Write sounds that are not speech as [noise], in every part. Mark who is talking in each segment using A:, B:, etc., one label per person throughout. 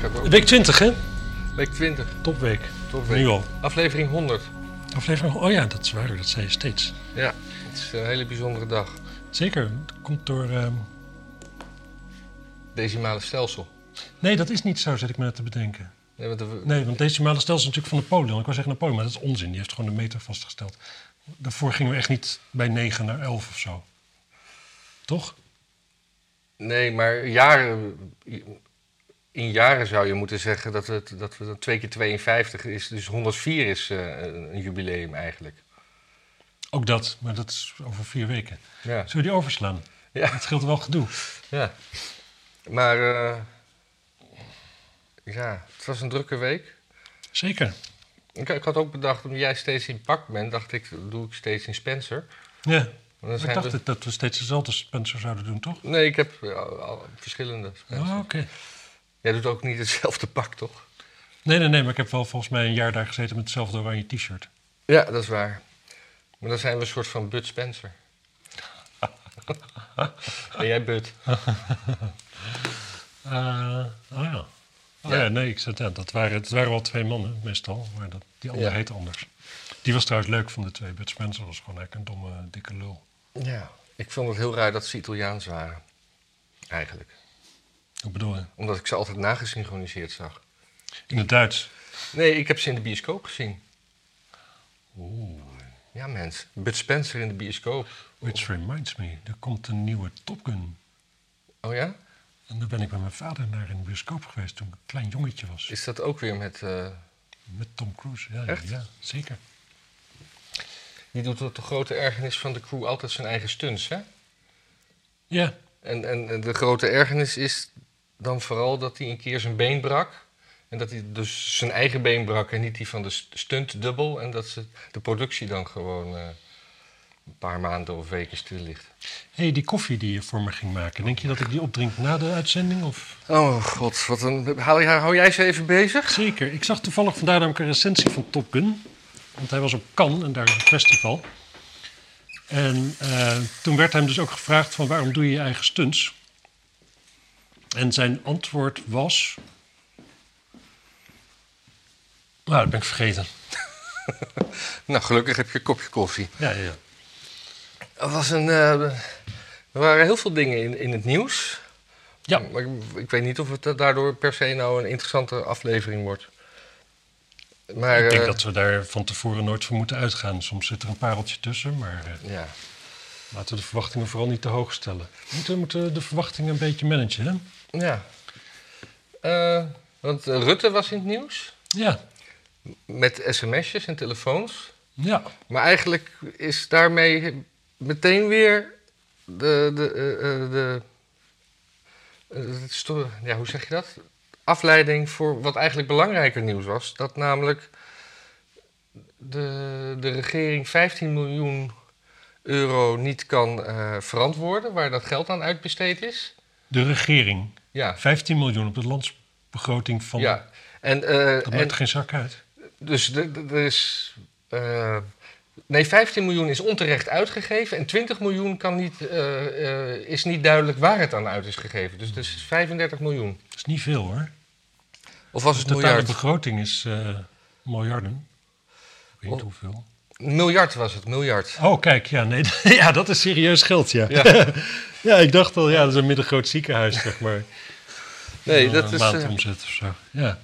A: heb ook.
B: Week 20, hè?
A: Week 20,
B: Topweek.
A: topweek.
B: Nu al.
A: Aflevering 100.
B: Aflevering. Oh ja, dat is waar, dat zei je steeds.
A: Ja, het is een hele bijzondere dag.
B: Zeker. Dat komt door. ehm,
A: Decimale stelsel.
B: Nee, dat is niet zo, zit ik me net te bedenken.
A: Nee, want de-
B: Nee, want decimale stelsel is natuurlijk van Napoleon. Ik wou zeggen Napoleon, maar dat is onzin. Die heeft gewoon de meter vastgesteld. Daarvoor gingen we echt niet bij 9 naar 11 of zo. Toch?
A: nee, maar jaren, in jaren zou je moeten zeggen dat, het, dat we dan 2 keer 52 is. Dus 104 is eh, een een jubileum eigenlijk.
B: Ook dat, maar dat is over vier weken.
A: Ja,
B: Zullen we die overslaan?
A: ja,
B: Dat scheelt wel gedoe.
A: ja. Maar eh, ja, het was een drukke week.
B: Zeker.
A: Ik, ik had ook bedacht, omdat jij steeds in pak bent, dacht ik, doe ik steeds in Spencer.
B: Ja.
A: Want dan
B: Ik
A: zijn
B: dacht
A: we-
B: het dat we steeds dezelfde Spencer zouden doen, toch?
A: Nee, ik heb eh, al, al verschillende.
B: Ah, oké.
A: Jij doet ook niet hetzelfde pak, toch?
B: Nee, nee, nee, maar ik heb wel volgens mij een jaar daar gezeten met hetzelfde oranje t-shirt.
A: Ja, dat is waar. Maar dan zijn we een soort van Bud Spencer. [laughs] en jij Bud.
B: Eh, oh ja. Oh
A: Ja.
B: ja, nee, ik zat, ja, dat, waren, dat waren wel twee mannen meestal, maar dat, die andere
A: Ja.
B: heet anders. Die was trouwens leuk van de twee. Bud Spencer was gewoon eigenlijk een domme, dikke lul.
A: Ja. Ik vond het heel raar dat ze Italiaans waren. Eigenlijk.
B: Hoe bedoel je?
A: Omdat ik ze altijd nagesynchroniseerd zag.
B: In het Duits.
A: Nee, ik heb ze in de bioscoop gezien.
B: Oeh.
A: Ja, mens. Bud Spencer in de bioscoop.
B: Which reminds me, er komt een nieuwe Top Gun.
A: Oh ja?
B: En daar ben ik met mijn vader naar in de bioscoop geweest toen ik een klein jongetje was.
A: Is dat ook weer met... eh,
B: Met Tom Cruise. Ja, ja,
A: Echt?
B: ja zeker.
A: Die doet tot de grote ergernis van de crew altijd zijn eigen stunts, hè?
B: Ja,
A: En, en en de grote ergernis is dan vooral dat hij een keer zijn been brak. En dat hij dus zijn eigen been brak en niet die van de st- stuntdubbel. En dat ze de productie dan gewoon eh, een paar maanden of weken stil ligt.
B: Hé, hey, die koffie die je voor me ging maken, denk je dat ik die opdrink na de uitzending? Of?
A: Oh god, wat een... Hou, hou jij ze even bezig?
B: Zeker. Ik zag toevallig vandaag namelijk een recensie van Top Gun. Want hij was op Cannes en daar is een festival. En eh, toen werd hem dus ook gevraagd van waarom doe je je eigen stunts? En zijn antwoord was... Nou, dat ben ik vergeten.
A: Nou, gelukkig heb je een kopje koffie.
B: Ja, ja, ja.
A: Er, was een, eh, er waren heel veel dingen in, in het nieuws.
B: Ja.
A: Maar ik, ik weet niet of het daardoor per se nou een interessante aflevering wordt. Maar,
B: Ik denk
A: eh,
B: dat we daar van tevoren nooit voor moeten uitgaan. Soms zit er een pareltje tussen, maar... eh,
A: Ja.
B: Laten we de verwachtingen vooral niet te hoog stellen. We moeten, we moeten de verwachtingen een beetje managen, hè?
A: Ja. Eh, want eh, Rutte was in het nieuws.
B: Ja,
A: Met sms'jes en telefoons.
B: ja.
A: Maar eigenlijk is daarmee meteen weer de. de, eh, eh, de eh, het sto- ja, hoe zeg je dat? Afleiding voor wat eigenlijk belangrijker nieuws was. Dat namelijk de, de regering 15 miljoen euro niet kan eh, verantwoorden, waar dat geld aan uitbesteed is.
B: De regering.
A: Ja,
B: 15 miljoen op de landsbegroting van...
A: ja. En, eh,
B: Dat
A: en-
B: maakt geen zak uit.
A: Dus de- de- er is. eh, nee, 15 miljoen is onterecht uitgegeven. En 20 miljoen kan niet, eh, eh, is niet duidelijk waar het aan uit is gegeven. Dus dat is 35 miljoen.
B: Dat is niet veel, hoor.
A: Of was
B: De
A: het
B: totale
A: miljard?
B: begroting is eh, miljarden. Ik
A: Oh.
B: weet niet hoeveel.
A: Miljard was het, miljard.
B: Oh, kijk, ja, nee, [laughs] ja, dat is serieus geld, ja.
A: Ja.
B: [laughs] Ja, ik dacht al, ja, dat is een middengroot ziekenhuis, zeg maar.
A: Nee,
B: Wel
A: dat
B: een
A: is. eh,
B: maandomzet of zo, ja.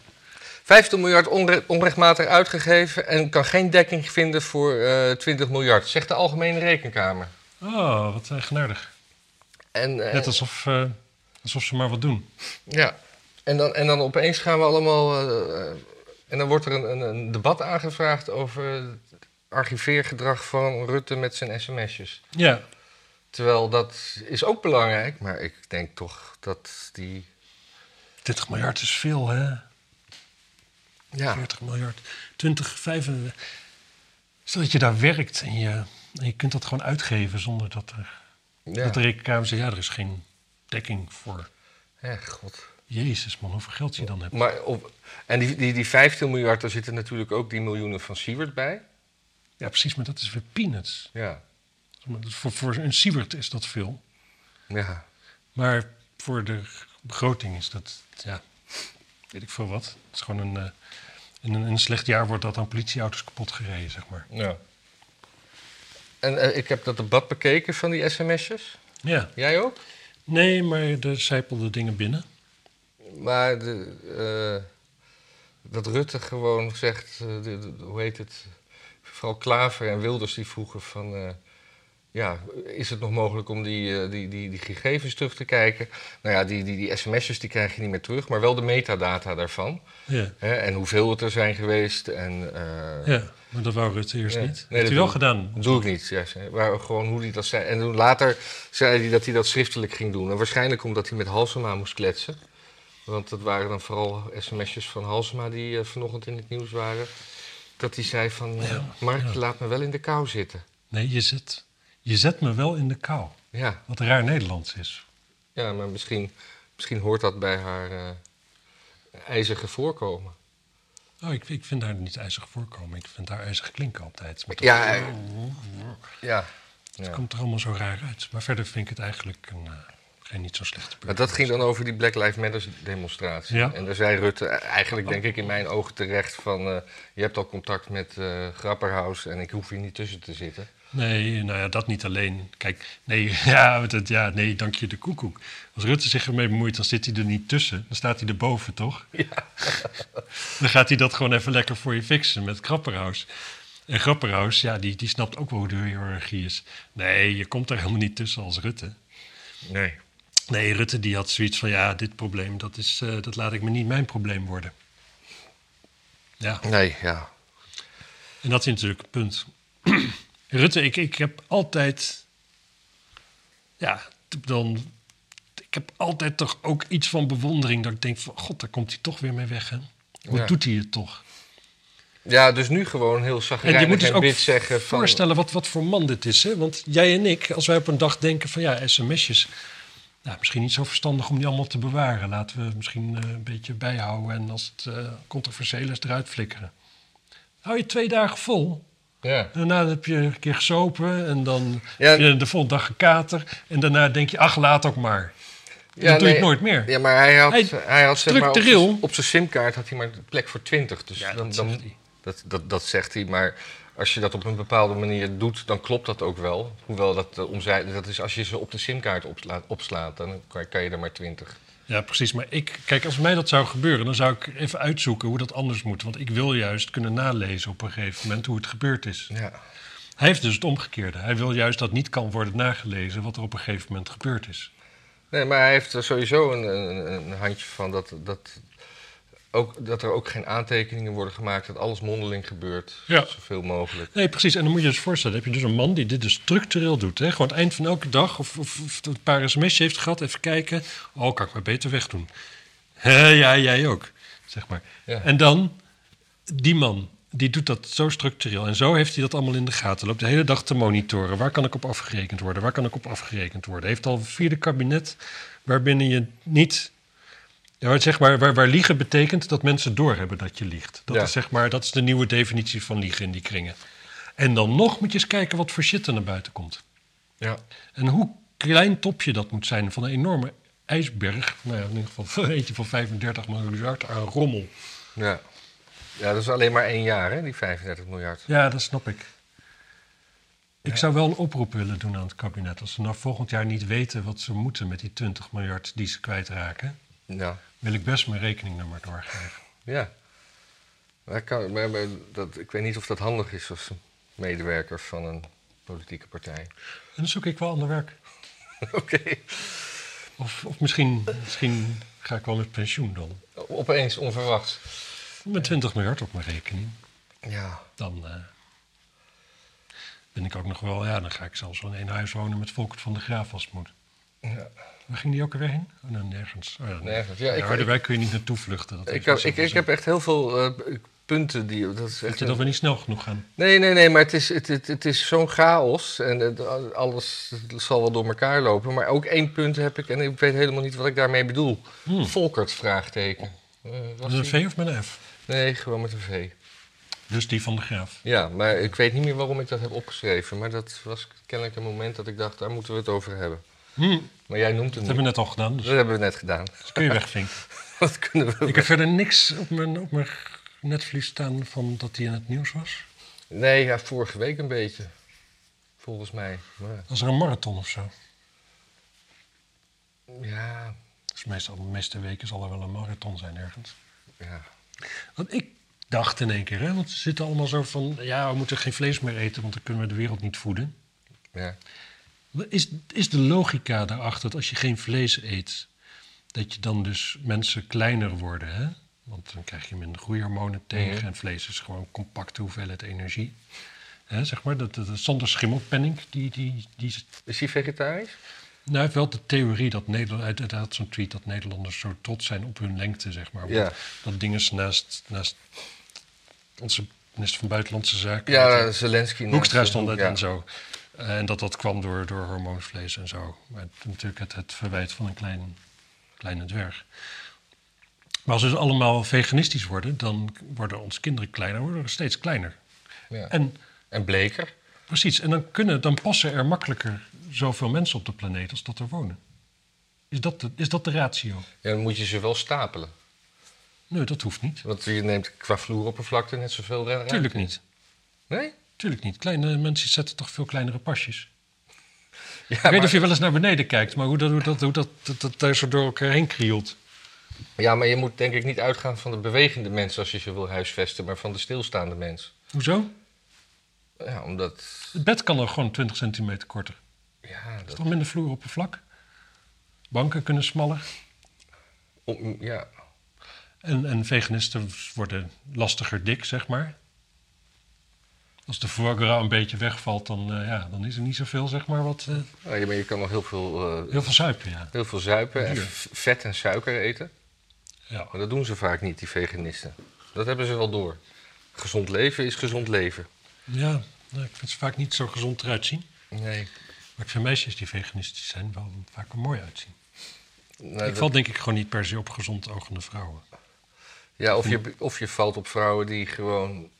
A: 15 miljard onre- onrechtmatig uitgegeven. En kan geen dekking vinden voor eh 20 miljard, zegt de Algemene Rekenkamer.
B: Oh, wat eigenaardig.
A: En, eh,
B: Net alsof, eh, alsof ze maar wat doen.
A: Ja, en dan, en dan opeens gaan we allemaal. eh, eh, en dan wordt er een, een, een debat aangevraagd over het archiveergedrag van Rutte met zijn sms'jes.
B: Ja,
A: Terwijl dat is ook belangrijk, maar ik denk toch dat die.
B: 30 miljard is veel, hè?
A: Ja,
B: 40 miljard. 20, 25. Stel dat je daar werkt en je, en je kunt dat gewoon uitgeven zonder dat, er,
A: ja.
B: dat de rekenkamer zegt... ja, er is geen dekking voor.
A: ja god.
B: Jezus, man, hoeveel geld je dan hebt.
A: Maar op, en die, die, die 15 miljard, daar zitten natuurlijk ook die miljoenen van Siewert bij.
B: Ja, precies, maar dat is weer peanuts.
A: Ja,
B: Maar dat- Voor, voor een Siebert is dat veel.
A: ja.
B: Maar voor de begroting is dat, ja... weet ik veel wat. Het is gewoon een, eh, in een, in een slecht jaar wordt dat aan politieauto's kapot gereden, zeg maar.
A: Ja. En eh, ik heb dat debat bekeken van die sms'jes.
B: Ja,
A: Jij ook?
B: nee, maar er zijpelden dingen binnen.
A: Maar de, eh, dat Rutte gewoon zegt, eh, de- de- hoe heet het? Vooral Klaver en Wilders die vroegen van... eh, ja, is het nog mogelijk om die, eh, die, die, die gegevens terug te kijken? Nou ja, die, die, die sms'jes die krijg je niet meer terug, maar wel de metadata daarvan.
B: Ja,
A: Hè? En hoeveel het er zijn geweest en... eh,
B: ja maar dat wou Rutte eerst
A: Ja.
B: niet.
A: Nee,
B: dat
A: dat
B: heeft hij wel
A: doe ik.
B: gedaan.
A: Dat doe ik niet, ja, ze- maar gewoon hoe hij dat zei. En toen later zei hij dat hij dat schriftelijk ging doen. En waarschijnlijk omdat hij met Halsema moest kletsen. Want dat waren dan vooral sms'jes van Halsema die eh, vanochtend in het nieuws waren. Dat hij zei van, eh, Mark, je laat me wel in de kou zitten.
B: Nee, je zet, je zet me wel in de kou.
A: Ja,
B: Wat raar Nederlands is.
A: ja maar misschien, misschien hoort dat bij haar eh, ijzige voorkomen.
B: Oh, ik, ik vind haar niet ijzig voorkomen. Ik vind haar ijzig klinken altijd. Met dat-
A: Ja, eh, ja.
B: Het
A: ja.
B: komt er allemaal zo raar uit. Maar verder vind ik het eigenlijk een, eh, geen niet zo slechte
A: Maar
B: burger.
A: dat ging dan over die Black Lives Matter demonstratie.
B: Ja. Oh.
A: En daar zei Rutte eigenlijk, denk ik, in mijn ogen terecht van... eh, je hebt al contact met eh, Grapperhaus en ik hoef hier niet tussen te zitten.
B: Nee, nou ja, dat niet alleen. Kijk, nee, [laughs] ja, want het, ja, nee, dank je de koekoek. Als Rutte zich ermee bemoeit, dan zit hij er niet tussen. Dan staat hij erboven, toch? Ja. [laughs] dan gaat hij dat gewoon even lekker voor je fixen met Grapperhaus. En Grapperhaus, ja, die, die snapt ook wel hoe de hiërarchie is. Nee, je komt er helemaal niet tussen als Rutte.
A: Nee.
B: Nee, Rutte die had zoiets van, ja, dit probleem, dat, is, eh, dat laat ik me niet mijn probleem worden. Ja,
A: Nee, ja.
B: en dat is natuurlijk een punt. [clears throat] Rutte, ik, ik heb altijd, ja, t- dan, ik heb altijd toch ook iets van bewondering dat ik denk van, god, daar komt hij toch weer mee weg, hè? Hoe
A: Ja.
B: doet hij het toch?
A: Ja, dus nu gewoon heel
B: En
A: zagrijnig
B: je
A: en,
B: moet dus ook
A: dit zeggen van...
B: voorstellen wat, wat voor man dit is, hè? Want jij en ik, als wij op een dag denken van, ja, sms'jes... Nou, misschien niet zo verstandig om die allemaal te bewaren. Laten we misschien eh, een beetje bijhouden en als het eh, controversieel is, eruit flikkeren. Hou je twee dagen vol.
A: Ja.
B: Daarna heb je een keer gesopen en dan
A: Ja.
B: heb je de volgende dag gekater. En daarna denk je, ach, laat ook maar.
A: Ja,
B: dat doe
A: nee.
B: je het nooit meer.
A: Ja, maar hij had,
B: Hij-
A: hij, had zeg maar, op
B: structureel-
A: zijn- op zijn simkaart had hij maar plek voor 20. Dus
B: Ja,
A: dan,
B: dat
A: dan,
B: zegt hij.
A: Dat, dat, dat zegt hij, maar als je dat op een bepaalde manier doet, dan klopt dat ook wel. Hoewel dat, eh, omzei- dat is als je ze op de simkaart opslaat, opslaat dan kan, kan je er maar 20.
B: Ja, precies. Maar ik, kijk, als mij dat zou gebeuren, dan zou ik even uitzoeken hoe dat anders moet. Want ik wil juist kunnen nalezen op een gegeven moment hoe het gebeurd is.
A: Ja.
B: Hij heeft dus het omgekeerde. Hij wil juist dat niet kan worden nagelezen wat er op een gegeven moment gebeurd is.
A: Nee, maar hij heeft er sowieso een, een, een handje van dat, dat, ook, dat er ook geen aantekeningen worden gemaakt, dat alles mondeling gebeurt,
B: Ja.
A: zoveel mogelijk.
B: Nee, precies. En dan moet je je eens voorstellen, heb je dus een man die dit dus structureel doet. Hè? Gewoon het eind van elke dag of, of, of een paar sms'jes heeft gehad, even kijken. Oh, kan ik maar beter wegdoen. Hé, ja, jij ook, zeg maar.
A: Ja.
B: En dan, die man, die doet dat zo structureel. En zo heeft hij dat allemaal in de gaten. Loopt de hele dag te monitoren. Waar kan ik op afgerekend worden? Waar kan ik op afgerekend worden? Heeft al een vierde kabinet waarbinnen je niet... Ja, maar zeg maar, waar, waar liegen betekent dat mensen doorhebben dat je liegt. Dat,
A: Ja.
B: is zeg maar, dat is de nieuwe definitie van liegen in die kringen. En dan nog moet je eens kijken wat voor shit er naar buiten komt.
A: Ja.
B: En hoe klein topje dat moet zijn van een enorme ijsberg. Nou ja, in ieder geval [laughs] eentje van 35 miljard aan rommel.
A: Ja. ja, dat is alleen maar één jaar, hè, die 35 miljard.
B: Ja, dat snap ik. Ik zou wel een oproep willen doen aan het kabinet. Als ze nou volgend jaar niet weten wat ze moeten met die 20 miljard die ze kwijtraken,
A: Ja.
B: wil ik best mijn rekeningnummer doorgeven.
A: Ja. Maar kan, maar, maar dat, ik weet niet of dat handig is als medewerker van een politieke partij. [laughs]
B: En dan zoek ik wel ander werk.
A: Oké.
B: Of, of misschien, misschien ga ik wel met pensioen dan.
A: Opeens, onverwachts.
B: Met 20 miljard op mijn rekening.
A: Ja.
B: Dan eh, ben ik ook nog wel... Ja, dan ga ik zelfs wel in één huis wonen met Volkert van de Graaf als het moet.
A: Ja.
B: Waar ging die ook alweer heen? Oh, nee, nergens. Oh, ja,
A: Nergens. Ja, ik-
B: ik, Harderwijk kun je niet naartoe vluchten. Dat
A: Ik,
B: heeft
A: heb-
B: Marcel
A: ik, ik
B: gezegd.
A: heb echt heel veel eh, punten die. Dat is
B: Weet
A: echt
B: je dat we niet snel genoeg gaan?
A: Nee, nee, nee, maar het is, het, het, het is zo'n chaos en het- alles zal wel door elkaar lopen. Maar ook één punt heb ik en ik weet helemaal niet wat ik daarmee bedoel.
B: Hmm.
A: Volkert, vraagteken. Eh, was
B: Met een
A: die-
B: V of met een F?
A: Nee, gewoon met een V.
B: Dus die van de Graaf.
A: Ja, maar ik weet niet meer waarom ik dat heb opgeschreven. Maar dat was kennelijk een moment dat ik dacht, daar moeten we het over hebben.
B: Hmm.
A: Maar jij noemt
B: Dat
A: hem
B: hebben
A: niet.
B: we net al gedaan, dus
A: Dat hebben we net gedaan. [laughs]
B: dat kun je wegvinken.
A: Dat kunnen we
B: Ik heb verder niks op mijn, op mijn netvlies staan van dat hij in het nieuws was.
A: Nee, ja, vorige week een beetje. Volgens mij. Maar,
B: Was er een marathon of zo?
A: ja,
B: Dus meestal, de meeste weken zal er wel een marathon zijn ergens.
A: ja.
B: Want ik dacht in één keer, hè, want ze zitten allemaal zo van... ja, we moeten geen vlees meer eten, want dan kunnen we de wereld niet voeden.
A: ja.
B: Is, is de logica daarachter dat als je geen vlees eet... dat je dan dus mensen kleiner worden, hè? Want dan krijg je minder groeihormonen tegen...
A: Mhm.
B: en vlees is gewoon een compacte hoeveelheid energie. Hè, zeg maar, dat, dat, dat- Sander Schimmelpenning, die, die, die
A: Is hij vegetarisch?
B: Nou, hij heeft wel de theorie dat Nederland, hij- hij had zo'n tweet dat Nederlanders zo trots zijn op hun lengte, zeg maar.
A: Ja.
B: Dat, dat ding is naast, naast onze minister van Buitenlandse Zaken. dat hij-
A: Ja, eh, Zelensky. naast
B: Hoekstra
A: de
B: stond
A: hoek,
B: dat
A: ja.
B: en zo. En dat dat kwam door, door hormoonvlees en zo. Maar natuurlijk het, het verwijt van een klein, kleine dwerg. Maar als we dus allemaal veganistisch worden, dan worden onze kinderen kleiner, worden we steeds kleiner.
A: Ja. En,
B: En
A: bleker?
B: Precies, en dan, kunnen, dan passen er makkelijker zoveel mensen op de planeet als dat er wonen. Is dat de, is dat de ratio?
A: Ja, dan moet je ze wel stapelen.
B: Nee, dat hoeft niet.
A: Want je neemt qua vloeroppervlakte net zoveel ruimte.
B: Tuurlijk niet.
A: Nee?
B: Tuurlijk niet. Kleine mensen zetten toch veel kleinere pasjes.
A: Ja,
B: Ik weet
A: maar-
B: of je wel eens naar beneden kijkt, maar hoe dat, hoe dat, hoe dat, dat, dat daar zo door elkaar heen krielt.
A: Ja, maar je moet denk ik niet uitgaan van de bewegende mens als je ze wil huisvesten, maar van de stilstaande mens.
B: Hoezo?
A: Ja, omdat.
B: Het bed kan dan gewoon 20 centimeter korter.
A: Ja,
B: Er is
A: dat,
B: toch minder vloeroppervlak? Banken kunnen smaller.
A: om- ja.
B: En, en veganisten worden lastiger dik, zeg maar. Als de voorgraad een beetje wegvalt, dan, eh, ja, dan is er niet zoveel, zeg maar, wat... eh,
A: Nou, je, maar je kan nog heel veel, eh,
B: heel veel suiker, ja.
A: heel veel zuipen en
B: Duur.
A: v- vet en suiker eten.
B: ja.
A: Maar dat doen ze vaak niet, die veganisten. Dat hebben ze wel door. Gezond leven is gezond leven.
B: Ja, nou, ik vind ze vaak niet zo gezond eruit zien.
A: Nee.
B: Maar ik vind meisjes die veganistisch zijn wel vaak er mooi uitzien.
A: Nou,
B: ik val denk ik gewoon niet per se op gezond ogende vrouwen.
A: Ja, of je, of je valt op vrouwen die gewoon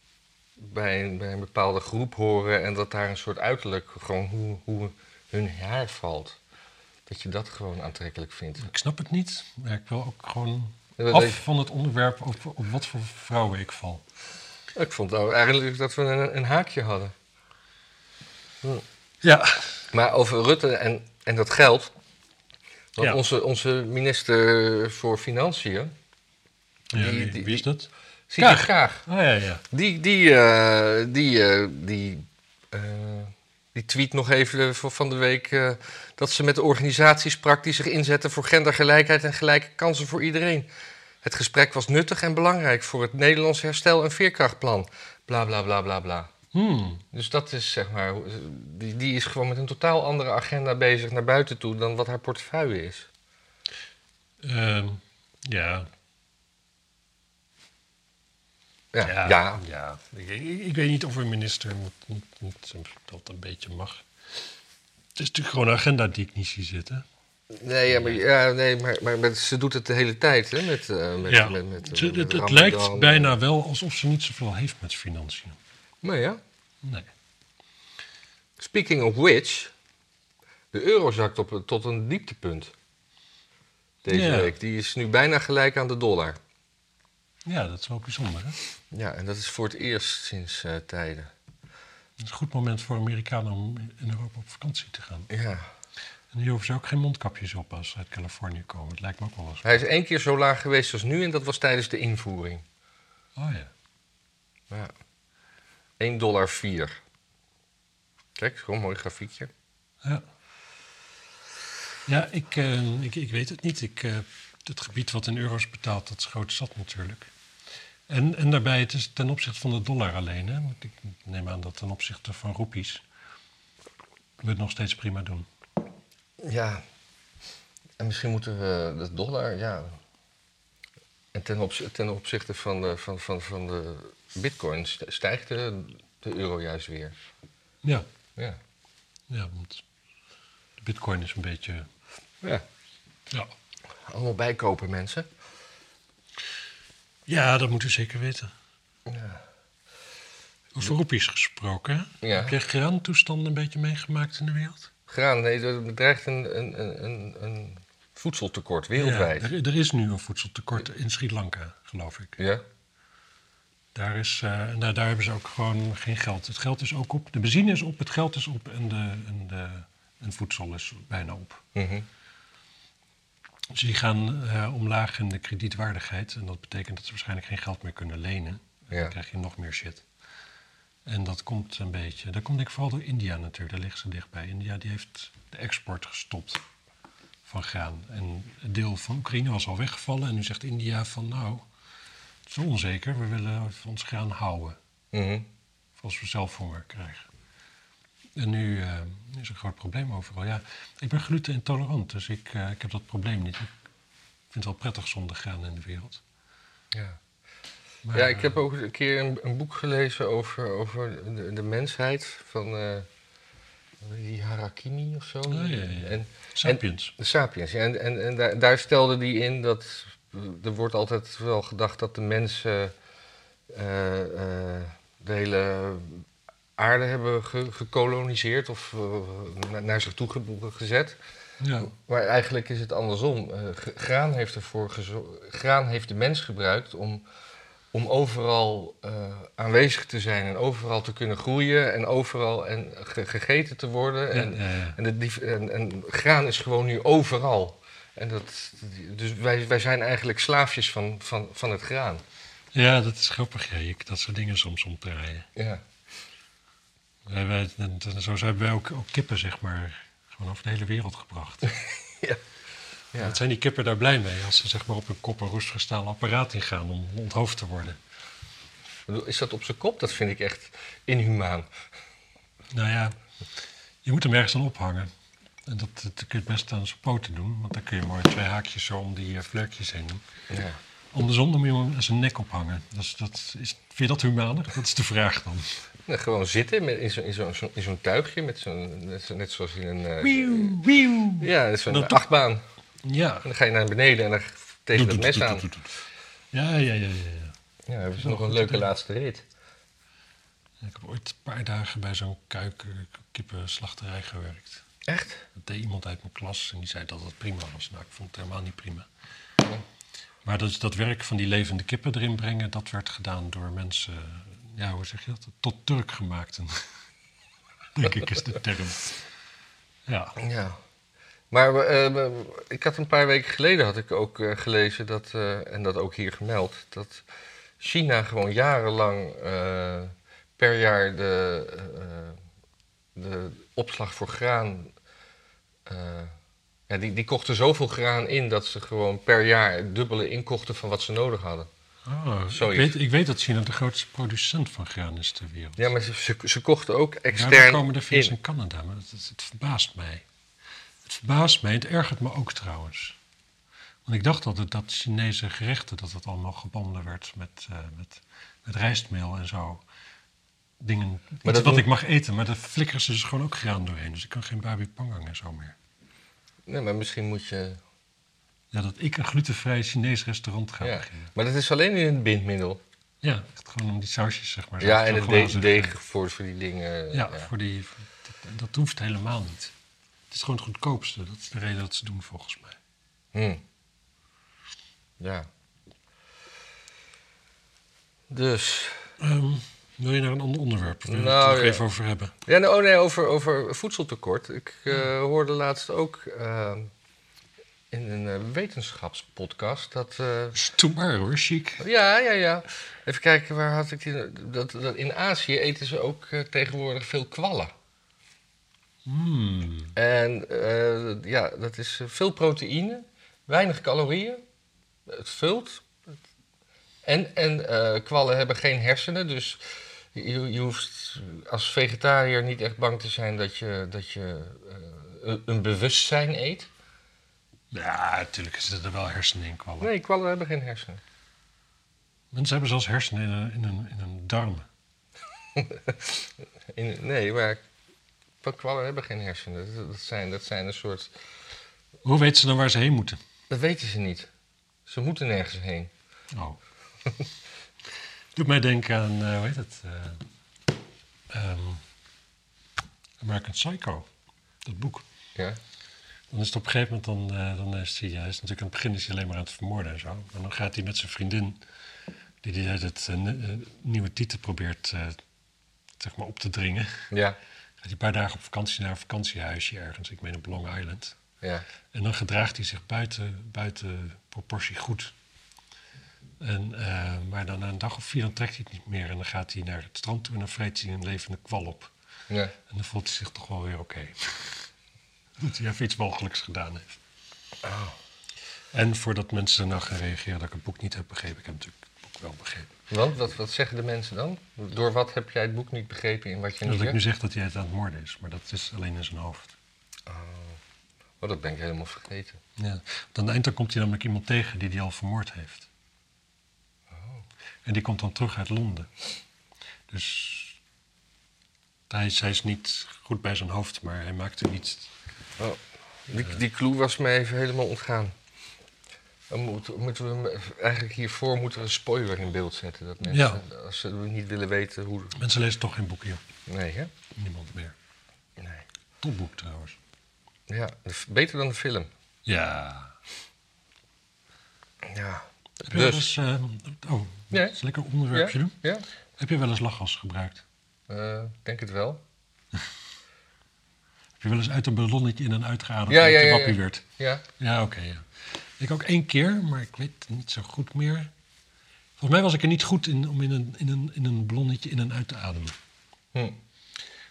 A: bij een, bij een bepaalde groep horen en dat daar een soort uiterlijk, gewoon hoe, hoe hun haar valt. Dat je dat gewoon aantrekkelijk vindt.
B: Ik snap het niet, maar ik wil ook gewoon
A: Ja, dat is-
B: af van het onderwerp op, op wat voor vrouwen ik val.
A: Ik vond nou eigenlijk dat we een, een haakje hadden.
B: Ja,
A: Maar over Rutte en, en dat geld. Want
B: Ja.
A: onze, onze minister voor Financiën,
B: ja
A: Die-
B: wie,
A: die-
B: wie is dat?
A: zie ik
B: Kaag.
A: graag.
B: Oh ja, ja.
A: Die, die, eh, die, eh, die, eh, die tweet nog even eh, van van de week... eh, dat ze met de organisaties sprak die zich inzetten voor gendergelijkheid... en gelijke kansen voor iedereen. Het gesprek was nuttig en belangrijk voor het Nederlands herstel- en veerkrachtplan. Bla, bla, bla, bla, bla.
B: Hmm.
A: Dus dat is zeg maar, hoe- die, die is gewoon met een totaal andere agenda bezig naar buiten toe dan wat haar portefeuille is.
B: Ehm, ja.
A: Ja, ja.
B: Ja. ja. Ik, ik- ik weet niet of een minister moet, moet, moet, dat een beetje mag. Het is natuurlijk gewoon een agenda die ik niet zie zitten.
A: Nee, ja, maar, ja, nee, maar, maar met- ze doet het de hele tijd, hè? Met, eh, met,
B: ja.
A: met, met,
B: het,
A: met
B: het, het
A: Ramadan.
B: lijkt bijna wel alsof ze niet zoveel heeft met financiën.
A: Maar ja,
B: Nee.
A: speaking of which, de euro zakt op, een- tot een dieptepunt deze
B: Ja.
A: week. Die is nu bijna gelijk aan de dollar.
B: Ja, dat is wel bijzonder. Hè?
A: Ja, en dat is voor het eerst sinds eh, tijden.
B: Het is een goed moment voor Amerikanen om in Europa op vakantie te gaan.
A: Ja.
B: En hier hoeven ze ook geen mondkapjes op als ze uit Californië komen. Het lijkt me ook wel eens.
A: Hij is één keer zo laag geweest als nu en dat was tijdens de invoering.
B: Oh ja.
A: Ja. 1,04 dollar. Kijk, gewoon een mooi grafiekje.
B: Ja, ja ik, eh, ik, ik weet het niet. Ik, eh, het gebied wat in euro's betaalt, dat is groot zat natuurlijk. En, en daarbij, het is ten opzichte van de dollar alleen. Hè? Want ik neem aan dat ten opzichte van roepies we het nog steeds prima doen.
A: Ja. En misschien moeten we de dollar, ja. En ten, opz- ten opzichte van de, van, van, van de bitcoin st- stijgt de, de euro juist weer.
B: Ja,
A: Ja.
B: ja want de bitcoin is een beetje...
A: ja.
B: Ja.
A: Allemaal bijkopen, mensen.
B: ja, dat moet u zeker weten.
A: Ja.
B: Over roepies gesproken. hè?
A: Ja.
B: Heb jij graantoestanden een beetje meegemaakt in de wereld?
A: graan. Nee, er bedreigt een, een, een- een, een voedseltekort wereldwijd.
B: Ja, er, er is nu een voedseltekort in Sri Lanka, geloof ik.
A: Ja?
B: Daar, is, eh, en daar, daar hebben ze ook gewoon geen geld. Het geld is ook op. De benzine is op, het geld is op en, de, en, de, en voedsel is bijna op.
A: Mhm.
B: Dus die gaan eh, omlaag in de kredietwaardigheid. En dat betekent dat ze waarschijnlijk geen geld meer kunnen lenen. En
A: Ja.
B: dan krijg je nog meer shit. En dat komt een beetje... Dat komt denk ik vooral door India natuurlijk. Daar liggen ze dichtbij. India die heeft de export gestopt van graan. En een deel van Oekraïne was al weggevallen. En nu zegt India van nou, het is onzeker. We willen ons graan houden.
A: Mhm.
B: Of als we zelf honger krijgen. En nu eh, is een groot probleem overal. Ja, ik ben glutenintolerant, dus ik, eh, ik heb dat probleem niet. Ik vind het wel prettig zonder graan in de wereld.
A: ja.
B: Maar,
A: ja, ik
B: eh,
A: heb ook een keer een, een boek gelezen over, over de, de mensheid van eh, die Harakimi of zo.
B: Oh, ja, ja, ja.
A: En,
B: Sapiens.
A: de Sapiens, ja. En, en, en daar, daar stelde die in dat er wordt altijd wel gedacht dat de mensen eh, eh, de hele aarde hebben ge- gekoloniseerd of eh, na- naar zich toe ge- gezet.
B: ja.
A: Maar eigenlijk is het andersom. Eh, g- graan, heeft ervoor gezo- graan heeft de mens gebruikt om, om overal eh, aanwezig te zijn en overal te kunnen groeien en overal en ge- gegeten te worden.
B: Ja, eh,
A: En,
B: ja, ja.
A: en, de dief- en, en graan is gewoon nu overal. En dat, dus wij, wij zijn eigenlijk slaafjes van, van, van het graan.
B: Ja, dat is grappig. Ja. Je- dat soort dingen soms omdraaien.
A: Ja.
B: Wij, wij, en- en zo hebben wij ook, ook kippen, zeg maar, gewoon over de hele wereld gebracht.
A: Ja.
B: Wat zijn die kippen daar blij mee als ze zeg maar, op een kop een roestig staal apparaat ingaan om onthoofd te worden?
A: Ik bedoel, Is dat op zijn kop? Dat vind ik echt inhumaan.
B: Nou ja, je moet hem ergens aan ophangen. En dat, dat kun je het best aan zijn poten doen, want dan kun je mooi twee haakjes zo om die eh, vlekjes heen doen.
A: Ja.
B: Andersom dan moet je hem aan zijn nek ophangen. Dus dat is, vind je dat humaner? Dat is de vraag dan.
A: Nou, gewoon zitten met, in zo'n in zo, in zo'n- in zo'n tuigje, met zo'n, net, zo- net zoals in een... eh,
B: Wieuw, wieuw.
A: Ja, dat is
B: En
A: zo'n
B: dan toch-
A: achtbaan. En
B: Ja.
A: dan ga je naar beneden en dan tegen dat mes aan.
B: Ja, ja, ja, ja. ja.
A: Ja, dat is
B: Wel
A: nog een
B: goed
A: leuke
B: idee.
A: laatste rit.
B: Ik heb ooit een paar dagen bij zo'n kuik- kippenslachterij gewerkt.
A: Echt?
B: Dat deed iemand uit mijn klas en die zei dat dat prima was. Nou, ik vond het helemaal niet prima. Maar dat, dat werk van die levende kippen erin brengen, dat werd gedaan door mensen, ja, hoe zeg je dat? Tot Turk gemaakten. [laughs] Denk ik is de term. Ja.
A: Ja. Maar eh, eh, ik had een paar weken geleden had ik ook eh, gelezen dat, eh, en dat ook hier gemeld, dat China gewoon jarenlang eh, per jaar de, eh, de opslag voor graan. eh, ja, die, die kochten zoveel graan in dat ze gewoon per jaar het dubbele inkochten van wat ze nodig hadden.
B: Oh, ik,
A: Zoiets.
B: weet, ik weet dat China de grootste producent van graan is ter wereld.
A: Ja, maar ze, ze, ze kochten ook
B: Ja,
A: extern.
B: daar komen er VS
A: in.
B: en Canada, maar het, het- het verbaast mij. Het verbaast mij, het ergert me ook trouwens. Want ik dacht altijd dat Chinese gerechten, dat het allemaal gebonden werd met, eh, met, met rijstmeel en zo. Dingen
A: dat
B: iets wat
A: doen-
B: ik mag eten, maar daar flikkeren ze dus gewoon ook graan doorheen. Dus ik kan geen babi pangang en zo meer.
A: Nee, maar misschien moet je.
B: Ja, dat ik een glutenvrij Chinees restaurant ga
A: Ja.
B: beginnen.
A: Maar dat is alleen in het bindmiddel.
B: Ja, echt gewoon om die sausjes zeg maar. zo
A: ja,
B: te
A: en het
B: glazen.
A: de- deeg voor, voor die dingen.
B: Ja,
A: ja.
B: Voor die, voor- dat, dat hoeft helemaal niet. Het is gewoon het goedkoopste. Dat is de reden dat ze het doen volgens mij.
A: Hm. Ja. Dus.
B: Ehm, wil je naar een ander onderwerp? Of wil je het
A: Nou,
B: er nog
A: ja.
B: even over hebben?
A: Ja, nou, oh nee, over, over voedseltekort. Ik eh, hoorde laatst ook eh, in een eh, wetenschapspodcast dat. eh,
B: Doe maar hoor, chic.
A: ja, ja, ja. Even kijken, waar had ik die. nou- Dat, dat in Azië eten ze ook eh, tegenwoordig veel kwallen.
B: Hmm.
A: En eh, ja, dat is eh, veel proteïne, weinig calorieën, het vult. En, en eh, kwallen hebben geen hersenen, dus je, je hoeft als vegetariër niet echt bang te zijn dat je, dat je eh, een- een bewustzijn eet.
B: Ja, natuurlijk zitten er wel hersenen in kwallen.
A: Nee, kwallen hebben geen hersenen.
B: Mensen hebben zelfs hersenen in hun, in hun, in hun darmen.
A: In, nee, maar kwa- kwallen hebben geen hersenen. Dat, dat zijn, dat zijn een soort...
B: Hoe weten ze dan waar ze heen moeten?
A: Dat weten ze niet. Ze moeten nergens heen. [laughs]
B: Oh. Doet mij denken aan, eh, hoe heet het? eh, ehm, American Psycho. dat boek.
A: Ja.
B: Dan is het op een gegeven moment, dan, eh, dan is hij, hij is natuurlijk aan het begin is hij alleen maar aan het vermoorden en zo. En dan gaat hij met zijn vriendin, die, die het eh, nieuwe titel probeert eh, zeg maar op te dringen.
A: Ja.
B: Gaat hij een paar dagen op vakantie naar een vakantiehuisje ergens, ik meen op Long Island.
A: Ja.
B: En dan gedraagt hij zich buiten, buiten proportie goed. En, eh, maar dan na een dag of vier dan trekt hij het niet meer. En dan gaat hij naar het strand toe en dan vreet hij een levende kwal op.
A: Ja.
B: En dan voelt hij zich toch wel weer oké. [laughs] dat hij even iets mogelijks gedaan heeft. Oh. En voordat mensen nou gaan reageren dat ik het boek niet heb begrepen. Ik heb natuurlijk het boek wel begrepen.
A: Want wat, wat zeggen de mensen dan? Door wat heb jij het boek niet begrepen in wat je
B: En
A: nu
B: dat ik
A: zegt?
B: nu zeg dat hij het aan het moorden is. Maar dat is alleen in zijn hoofd.
A: Oh, dat ben ik helemaal vergeten.
B: Ja. Want aan het eind dan komt hij namelijk iemand tegen die hij al vermoord heeft. En die komt dan terug uit Londen. Dus hij, is- hij is niet goed bij zijn hoofd, maar hij maakte niet...
A: Oh, die, die clue was mij even helemaal ontgaan. Dan moet- moeten we hem, eigenlijk hiervoor moeten we een spoiler in beeld zetten. Dat mensen, als ze niet willen weten hoe...
B: Mensen lezen toch geen boek hier.
A: Nee, hè?
B: Niemand meer.
A: Nee.
B: Topboek trouwens.
A: Ja, de f- beter dan de film.
B: Ja.
A: Ja.
B: Heb je wel
A: Dus.
B: eens... eh, oh,
A: Ja.
B: dat is een lekker onderwerpje
A: ja?
B: doen.
A: Ja?
B: Heb je wel eens lachgas gebruikt?
A: Eh, denk het wel.
B: Heb je wel eens uit een ballonnetje in en uitgeademd
A: Ja,
B: dat
A: ja,
B: je
A: ja, ja.
B: wappie werd?
A: Ja.
B: Ja, oké. ja. Ik ook één keer, maar ik weet het niet zo goed meer. Volgens mij was ik er niet goed in om in een, in een, in een ballonnetje in en uit te ademen.
A: Hm.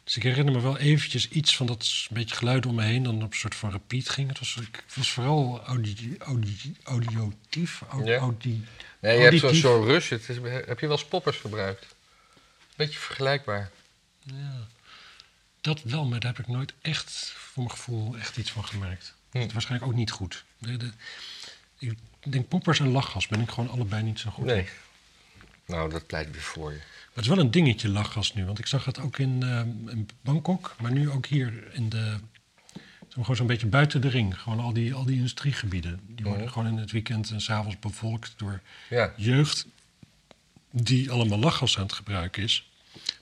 B: Dus ik herinner me wel eventjes iets van dat s- beetje geluid om me heen, dan op een soort van repeat ging. Het was, ik was vooral audi, audi, audiotief. au-
A: Ja.
B: audi-
A: Nee, je hebt zo'n
B: auditief.
A: zo'n rush. Het is, heb je wel eens poppers gebruikt? Beetje vergelijkbaar.
B: Ja. Dat wel, maar daar heb ik nooit echt, voor mijn gevoel, echt iets van gemerkt.
A: Hm.
B: Het is waarschijnlijk ook niet goed. De- de- ik denk poppers en lachgas ben ik gewoon allebei niet zo goed in.
A: Nee. Nou, dat pleit weer voor je.
B: Maar het is wel een dingetje lachgas nu, want ik zag het ook in, ehm, in Bangkok, maar nu ook hier in de. zo- Gewoon zo'n beetje buiten de ring. Gewoon al die, al die industriegebieden. Die worden
A: Mhm.
B: gewoon in het weekend en s'avonds bevolkt door
A: Ja.
B: jeugd die allemaal lachgas aan het gebruiken is.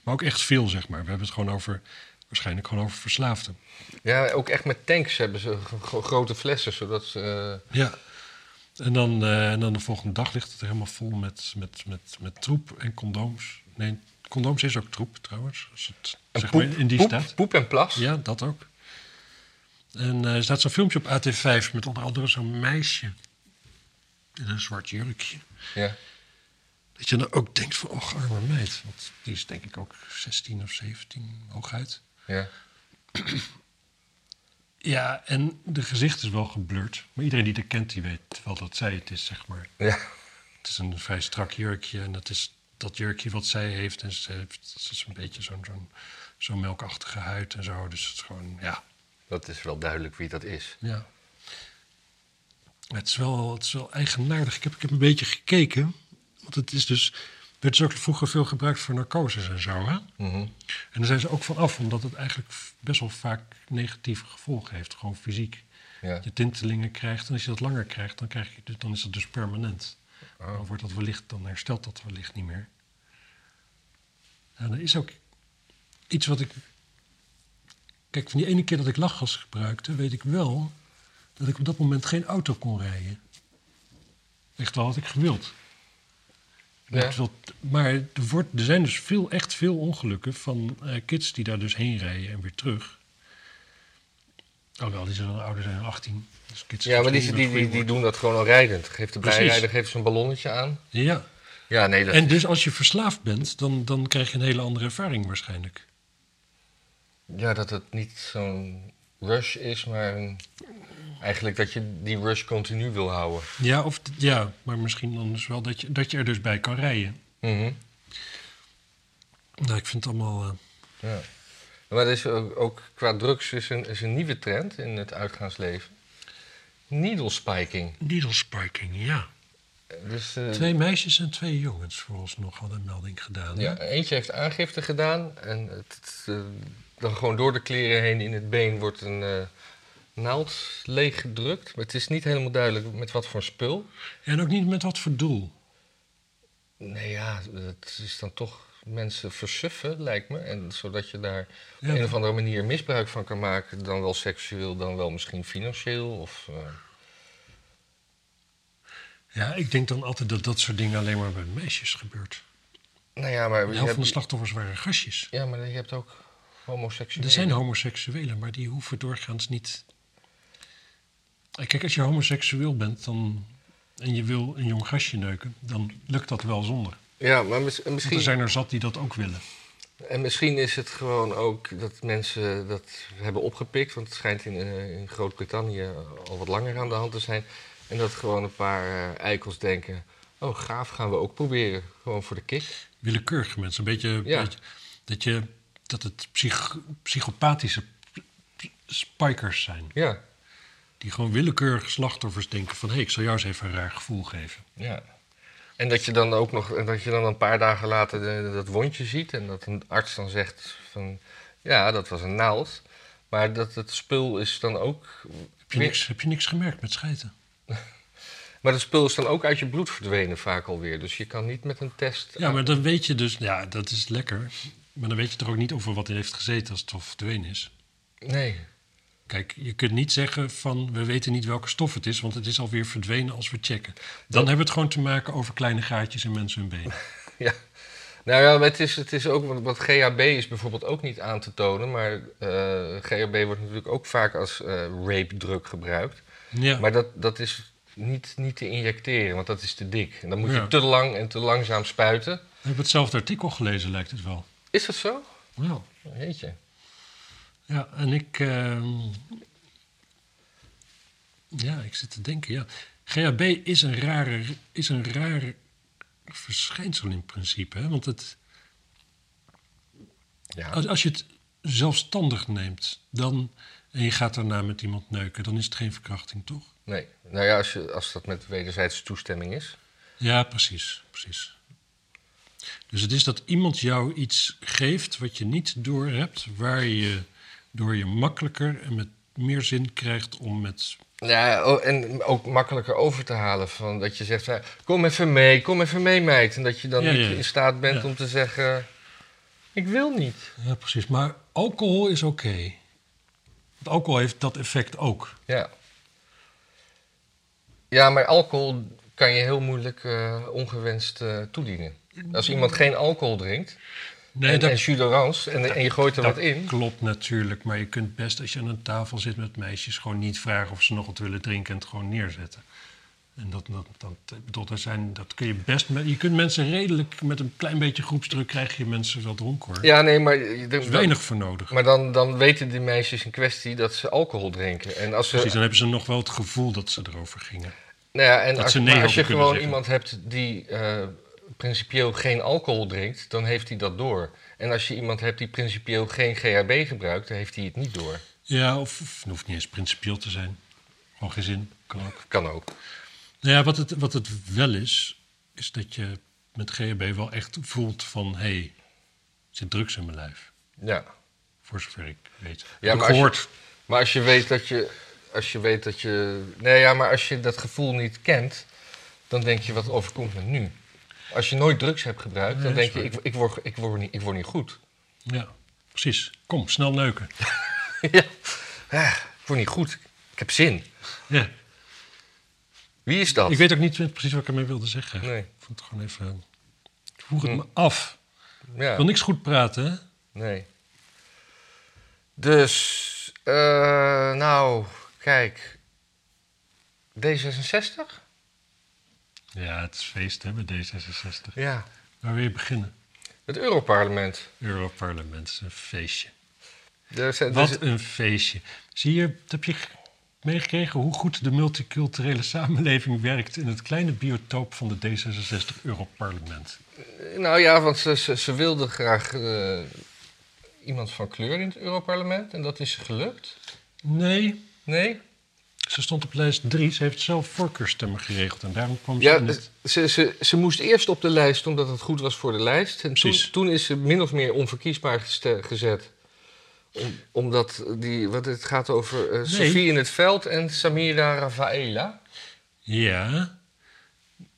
B: Maar ook echt veel, zeg maar. We hebben het gewoon over, waarschijnlijk gewoon over verslaafden.
A: ja, ook echt met tanks hebben ze gro- grote flessen, zodat ze... eh,
B: Ja. En dan, eh, en dan de volgende dag ligt het er helemaal vol met, met, met, met troep en condooms. Nee, condooms is ook troep trouwens. Als het
A: en
B: zeg
A: poep,
B: maar in die
A: poep,
B: staat.
A: poep en plas.
B: Ja, dat ook. En eh, er staat zo'n filmpje op AT5 met onder andere zo'n meisje in een zwart jurkje.
A: Ja.
B: Dat je dan ook denkt van, och, arme meid. Want die is denk ik ook 16 of 17, hooguit.
A: ja.
B: Ja, en de gezicht is wel geblurred. Maar iedereen die het kent, die weet wel dat zij het is, zeg maar.
A: Ja.
B: Het is een vrij strak jurkje. En dat is dat jurkje wat zij heeft. En ze, heeft, ze is een beetje zo'n zo'n zo'n melkachtige huid en zo. Dus het is gewoon, ja,
A: Dat is wel duidelijk wie dat is.
B: Ja. Het is wel, het is wel eigenaardig. Ik heb, ik heb een beetje gekeken. Want het is dus. werd dus ook vroeger veel gebruikt voor narcoses en zo. Hè?
A: Mhm.
B: En daar zijn ze ook van af, omdat het eigenlijk f- best wel vaak negatieve gevolgen heeft. Gewoon fysiek.
A: Ja.
B: Dat Je tintelingen krijgt. En als je dat langer krijgt, dan, krijg je, dus- dan is dat dus permanent.
A: Oh.
B: Dan, wordt dat wellicht, dan herstelt dat wellicht niet meer. En er is ook iets wat ik Kijk, van die ene keer dat ik lachgas gebruikte, weet ik wel dat ik op dat moment geen auto kon rijden. Echt wel had ik gewild.
A: Ja.
B: Echt wel- maar er, wordt, er zijn dus veel, echt veel ongelukken van eh, kids die daar dus heen rijden en weer terug. Alhoewel, die zijn dan ouder zijn dan 18. Dus kids
A: Ja, maar die,
B: zijn
A: die, die, die doen dat gewoon al rijdend. Geeft de
B: Precies.
A: bijrijder geeft zo'n ballonnetje aan.
B: Ja,
A: Ja, nee, dat
B: en dus als je verslaafd bent, dan, dan krijg je een hele andere ervaring waarschijnlijk.
A: Ja, dat het niet zo'n rush is, maar een- eigenlijk dat je die rush continu wil houden.
B: Ja, of, ja maar misschien dan dus wel dat je, dat je er dus bij kan rijden.
A: Mhm,
B: Nou, ik vind het allemaal... eh,
A: ja. Maar er is ook, ook qua drugs is een, is een nieuwe trend in het uitgaansleven. Needle spiking.
B: Needle spiking, ja.
A: Dus, eh,
B: Twee meisjes en twee jongens vooralsnog hadden een melding gedaan. hè?
A: ja, eentje heeft aangifte gedaan en het, het, eh, dan gewoon door de kleren heen in het been wordt een eh, naald leeggedrukt. Maar het is niet helemaal duidelijk met wat voor spul.
B: En ook niet met wat voor doel.
A: Nee, ja, het is dan toch mensen versuffen, lijkt me. En zodat je daar op
B: Ja.
A: een of andere manier misbruik van kan maken. Dan wel seksueel, dan wel misschien financieel. Of, eh,
B: Ja, ik denk dan altijd dat dat soort dingen alleen maar bij meisjes gebeurt.
A: nou ja, maar je
B: De helft van de
A: hebt,
B: slachtoffers waren gastjes.
A: ja, maar je hebt ook homoseksuelen.
B: Er zijn homoseksuelen, maar die hoeven doorgaans niet. Eh, Kijk, als je homoseksueel bent dan, en je wil een jong gastje neuken, dan lukt dat wel zonder.
A: Ja, maar mis- en
B: Want er
A: misschien,
B: zijn er zat die dat ook willen.
A: en misschien is het gewoon ook dat mensen dat hebben opgepikt. Want het schijnt in, eh, in Groot-Brittannië al wat langer aan de hand te zijn. En dat gewoon een paar eh, eikels denken... Oh, gaaf, gaan we ook proberen. Gewoon voor de kick.
B: Willekeurige mensen. Een beetje,
A: Ja.
B: beetje- dat, je, dat het psych- psychopathische p- p- spikers zijn.
A: Ja,
B: Die gewoon willekeurige slachtoffers denken van... hé, hey, ik zal jou eens even een raar gevoel geven.
A: Ja. En dat je dan ook nog, en dat je dan een paar dagen later de- dat wondje ziet en dat een arts dan zegt van, ja, dat was een naald. Maar dat het spul is dan ook,
B: Heb je niks, heb je niks gemerkt met schijten?
A: maar het spul is dan ook uit je bloed verdwenen vaak alweer. Dus je kan niet met een test.
B: Ja, maar dan weet je dus... Ja, dat is lekker. Maar dan weet je toch ook niet over wat hij heeft gezeten als het of verdwenen is.
A: Nee. [laughs]
B: Kijk, je kunt niet zeggen van... we weten niet welke stof het is, want het is alweer verdwenen als we checken. Dan hebben we het gewoon te maken over kleine gaatjes in mensen hun benen.
A: Ja. Nou ja, maar het is, het is ook, want- want GHB is bijvoorbeeld ook niet aan te tonen, maar eh, GHB wordt natuurlijk ook vaak als eh rape-drug gebruikt.
B: [laughs] Ja.
A: Maar dat, dat is niet, niet te injecteren, want dat is te dik. En dan moet
B: Ja.
A: je te lang en te langzaam spuiten.
B: We hebben hetzelfde artikel gelezen, lijkt het wel.
A: Is dat zo?
B: Wel.
A: Jeetje.
B: Ja, en ik. ehm, ja, ik zit te denken. Ja. GHB is een rare, is een rare verschijnsel in principe. Hè? Want het,
A: Ja.
B: als, als je het zelfstandig neemt dan, en je gaat daarna met iemand neuken, dan is het geen verkrachting, toch?
A: Nee. Nou ja, als, je, als dat met wederzijdse toestemming is.
B: Ja, precies, precies. Dus het is dat iemand jou iets geeft wat je niet doorhebt, waar je door je makkelijker en met meer zin krijgt om met
A: Ja, o- en ook makkelijker over te halen. Van dat je zegt, eh, kom even mee, kom even mee meid. En dat je dan
B: Ja,
A: niet
B: ja, ja.
A: in staat bent
B: Ja.
A: om te zeggen, ik wil niet.
B: Ja, precies. Maar alcohol is oké. Want alcohol heeft dat effect ook.
A: Ja. Ja, maar alcohol kan je heel moeilijk eh, ongewenst eh, toedienen. Als iemand geen alcohol drinkt,
B: Nee,
A: en,
B: dat
A: en jus d'orange, en, en je gooit er
B: dat
A: wat in.
B: klopt natuurlijk. Maar je kunt best als je aan een tafel zit met meisjes... gewoon niet vragen of ze nog wat willen drinken en het gewoon neerzetten. En dat, dat, dat, ik bedoel, dat, zijn, dat kun je best... Met, je kunt mensen redelijk... Met een klein beetje groepsdruk krijg je mensen wel dronken hoor.
A: Ja, nee, maar... je-
B: Er is weinig voor nodig.
A: Maar dan, dan weten die meisjes in kwestie dat ze alcohol drinken. En als ze,
B: Precies, dan hebben ze nog wel het gevoel dat ze erover gingen.
A: nou ja, en
B: dat
A: als,
B: ze nee
A: maar als
B: hadden
A: je
B: kunnen
A: gewoon
B: zeggen.
A: iemand hebt die eh, principieel geen alcohol drinkt, dan heeft hij dat door. En als je iemand hebt die principieel geen GHB gebruikt, dan heeft hij het niet door.
B: Ja, of, of het hoeft niet eens principieel te zijn. Gewoon geen zin, kan ook.
A: Kan ook.
B: Nou ja, wat het, wat het wel is, is dat je met GHB wel echt voelt van... hé, hey, er zit drugs in mijn lijf,
A: Ja.
B: voor zover ik weet.
A: Ja,
B: Heb ik
A: maar als je-
B: gehoord.
A: Maar als je weet dat je. Als je weet dat je. Nee, ja, maar als je dat gevoel niet kent, dan denk je wat overkomt me nu. Als je nooit drugs hebt gebruikt,
B: Nee,
A: dan
B: dat is
A: denk je, ik, ik, word, ik, word niet, ik word niet goed. [laughs]
B: Ja, precies. Kom, snel neuken.
A: ja. Ah, Ik word niet goed. Ik heb zin.
B: Ja.
A: Wie is dat?
B: Ik weet ook niet precies wat ik ermee wilde zeggen.
A: Nee. Hm.
B: Ik vond het gewoon even... Ik vroeg het me af. Ik wil
A: Ja,
B: niks goed praten, hè?
A: nee. Dus, eh, nou, kijk. D66?
B: Ja, het is feest, hè, bij D66.
A: Ja.
B: Waar wil je beginnen?
A: Het Europarlement.
B: Europarlement is een feestje.
A: Er zijn- er
B: Wat
A: zijn-
B: een feestje. Zie je, heb je meegekregen hoe goed de multiculturele samenleving werkt in het kleine biotoop van de D66 Europarlement?
A: nou ja, want ze, ze, ze wilden graag eh, iemand van kleur in het Europarlement. En dat is gelukt.
B: Nee,
A: Nee?
B: ze stond op lijst 3. Ze heeft zelf voorkeurstemmen geregeld en daarom kwam ze
A: Ja,
B: in het...
A: ze, ze, ze moest eerst op de lijst omdat het goed was voor de lijst. En toen,
B: Precies.
A: toen is ze min of meer onverkiesbaar geste- gezet. Om- omdat die, wat het gaat over eh Sophie in het veld en Samira Rafaela.
B: Ja,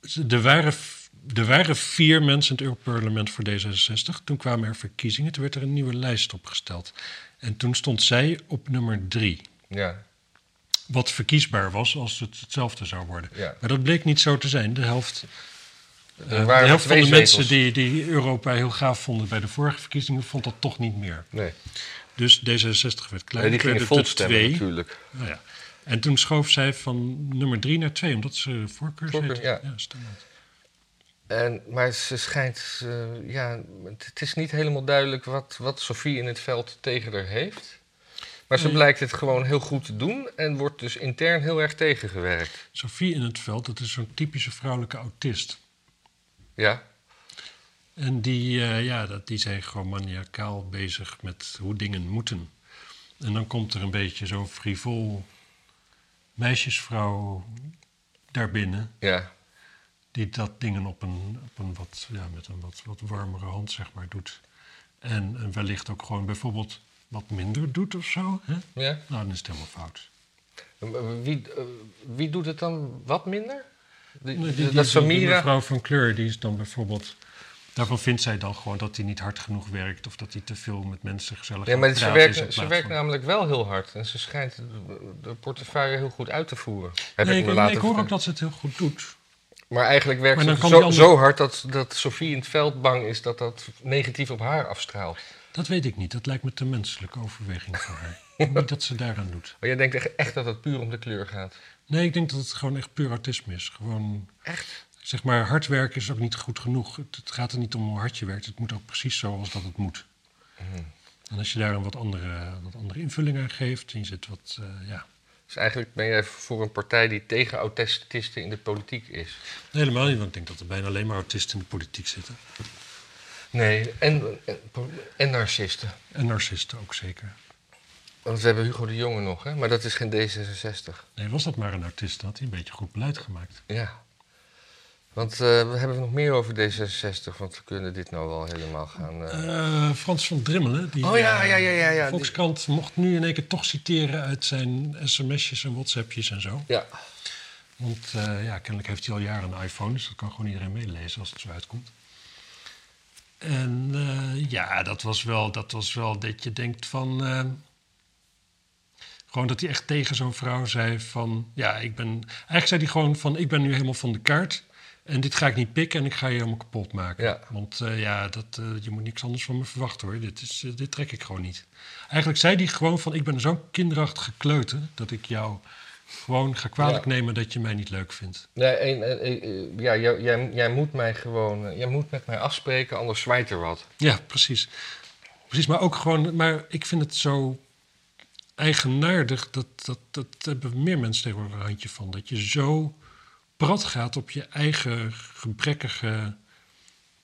B: Ze- er waren v- er waren vier mensen in het Europarlement voor D66. Toen kwamen er verkiezingen, toen werd er een nieuwe lijst opgesteld. En toen stond zij op nummer drie.
A: Ja.
B: Wat verkiesbaar was als het hetzelfde zou worden.
A: Ja.
B: Maar dat bleek niet zo te zijn. De helft, eh,
A: Er
B: de
A: waren
B: helft van
A: twee
B: de mensen
A: zetels.
B: die, die Europa heel gaaf vonden bij de vorige verkiezingen, vond dat toch niet meer.
A: Nee.
B: Dus D66 werd kleiner.
A: Nee, die gingen
B: werden
A: vol
B: er
A: stemmen natuurlijk.
B: Nou ja. En toen schoof zij van nummer drie naar twee, omdat ze voorkeur,
A: Voorkeur, ja.
B: stemmen had.
A: En, maar ze schijnt, eh, ja, het, het is niet helemaal duidelijk wat, wat Sophie in het veld tegen haar heeft. Maar ze
B: Nee.
A: blijkt het gewoon heel goed te doen en wordt dus intern heel erg tegengewerkt.
B: Sophie in het veld, dat is zo'n typische vrouwelijke autist.
A: Ja,
B: En die, eh, ja, dat, die zijn gewoon maniacaal bezig met hoe dingen moeten. En dan komt er een beetje zo'n frivol meisjesvrouw daarbinnen...
A: ja.
B: die dat dingen op een, op een wat, ja, met een wat, wat warmere hand, zeg maar, doet. En, en wellicht ook gewoon bijvoorbeeld wat minder doet of zo. Hè?
A: ja.
B: Nou, dan is het helemaal fout.
A: Eh, Wie, eh, wie doet het dan wat minder? Die-
B: Nee, die- die-
A: dat
B: die- die
A: Samira...
B: mevrouw van kleur, die is dan bijvoorbeeld... Daarvan vindt zij dan gewoon dat hij niet hard genoeg werkt... of dat hij te veel met mensen gezellig
A: Nee, maar
B: aan het
A: ze
B: praten is in
A: werkt, ze
B: plaats
A: werkt
B: van-
A: namelijk wel heel hard. En ze schijnt de- de portefeuille heel goed uit te voeren. Heb
B: Nee,
A: ik
B: ik,
A: me
B: nee,
A: laten
B: ik hoor ook
A: vertellen.
B: dat ze het heel goed doet.
A: Maar eigenlijk werkt
B: Maar dan
A: ze
B: kan
A: zo,
B: die andere-
A: zo hard dat, dat Sophie in het veld bang is dat dat negatief op haar afstraalt.
B: Dat weet ik niet. Dat lijkt me te menselijke overweging voor
A: [laughs]
B: haar. Ik denk niet dat ze daaraan doet.
A: Maar jij denkt echt, echt dat het puur om de kleur gaat.
B: Nee, ik denk dat het gewoon echt puur autisme is. Gewoon,
A: Echt?
B: zeg maar, hard werken is ook niet goed genoeg. Het, het gaat er niet om hoe hard je werkt. Het moet ook precies zoals dat het moet.
A: Mhm.
B: En als je daar een wat andere, wat andere invulling aan geeft... en je zit wat, eh, ja...
A: Dus eigenlijk ben jij voor een partij die tegen autisten in de politiek is.
B: Nee, helemaal niet, want ik denk dat er bijna alleen maar autisten in de politiek zitten.
A: Nee, en, en, en narcisten.
B: En narcisten ook zeker.
A: Want we hebben Hugo de Jonge nog, hè? maar dat is geen D66.
B: Nee, was dat maar een autist, dan had hij een beetje goed beleid gemaakt.
A: Ja. Want eh, we hebben nog meer over D66, want we kunnen dit nou wel helemaal gaan. eh.
B: Eh, Frans van Drimmelen, die
A: Oh ja,
B: eh,
A: ja, ja, ja, ja.
B: de Volkskrant mocht nu in één keer toch citeren uit zijn sms'jes en whatsappjes en zo.
A: Ja,
B: Want eh, ja, kennelijk heeft hij al jaren een iPhone, dus dat kan gewoon iedereen meelezen als het zo uitkomt. En eh, ja, dat was, wel, dat was wel dat je denkt van... eh, gewoon dat hij echt tegen zo'n vrouw zei van... Ja, ik ben... Eigenlijk zei hij gewoon van, ik ben nu helemaal van de kaart... En dit ga ik niet pikken en ik ga je helemaal kapot maken.
A: Ja.
B: Want eh, ja, dat, eh, je moet niks anders van me verwachten hoor. Dit, is, eh, dit trek ik gewoon niet. Eigenlijk zei hij gewoon van, ik ben zo'n kinderachtige kleuter... dat ik jou gewoon ga kwalijk
A: Ja.
B: nemen dat je mij niet leuk vindt.
A: nee, en, en, eh, ja jij, jij, jij moet mij gewoon. eh, jij moet met mij afspreken, anders zwaait er wat.
B: Ja, precies. Precies, maar ook gewoon... Maar ik vind het zo eigenaardig... dat, dat, dat hebben meer mensen tegenwoordig een handje van. Dat je zo prat gaat op je eigen gebrekkige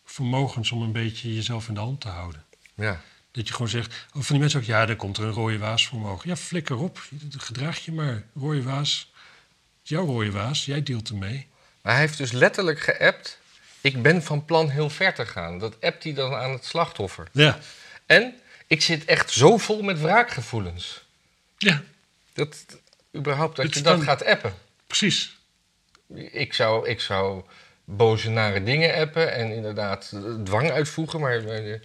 B: vermogens... om een beetje jezelf in de hand te houden.
A: Ja.
B: Dat je gewoon zegt... oh, van die mensen ook, ja, daar komt er een rode waas voor mogen. Ja, flikker op. Gedraag je maar. Rode waas. Het is Jouw rode waas. Jij deelt ermee.
A: Maar hij heeft dus letterlijk geappt. Ik ben van plan heel ver te gaan. Dat appt hij dan aan het slachtoffer.
B: Ja.
A: En ik zit echt zo vol met wraakgevoelens.
B: Ja,
A: Dat überhaupt dat
B: Het
A: je
B: is
A: dat
B: dan-
A: gaat appen.
B: precies.
A: Ik zou, ik zou boze, nare dingen appen en inderdaad eh, dwang uitvoegen, maar eh,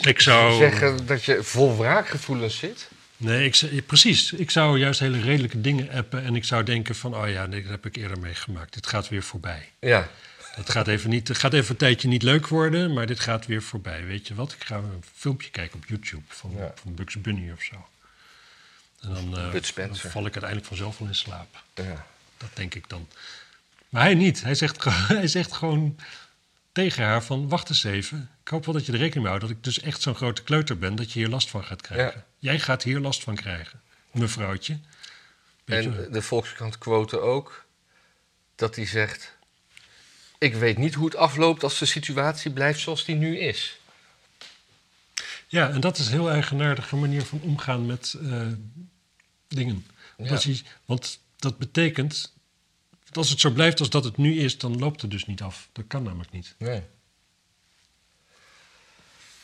B: Ik zou...
A: zeggen dat je vol wraakgevoelens zit.
B: Nee, ik, zou- precies. Ik zou juist hele redelijke dingen appen en ik zou denken van, oh ja, dit heb ik eerder meegemaakt. Dit gaat weer voorbij.
A: Ja,
B: Dat gaat even niet, het gaat even een tijdje niet leuk worden, maar dit gaat weer voorbij. Weet je wat? Ik ga een filmpje kijken op YouTube van,
A: Ja.
B: van Bugs Bunny of zo. En dan, eh,
A: Bud Spencer.
B: dan val ik uiteindelijk vanzelf wel in slaap.
A: ja.
B: Dat denk ik dan. Maar hij niet. Hij zegt, gewoon- [laughs] hij zegt gewoon tegen haar van, wacht eens even. Ik hoop wel dat je er rekening mee houdt dat ik dus echt zo'n grote kleuter ben... dat je hier last van gaat krijgen. Jij gaat hier last van krijgen, mevrouwtje. Weet je wel.
A: En de Volkskrant quote ook dat hij zegt... Ik weet niet hoe het afloopt als de situatie blijft zoals die nu is.
B: Ja, en dat is een heel eigenaardige manier van omgaan met eh, dingen. Omdat
A: Ja.
B: je- want dat betekent... dat als het zo blijft als dat het nu is, dan loopt het dus niet af. Dat kan namelijk niet.
A: Nee.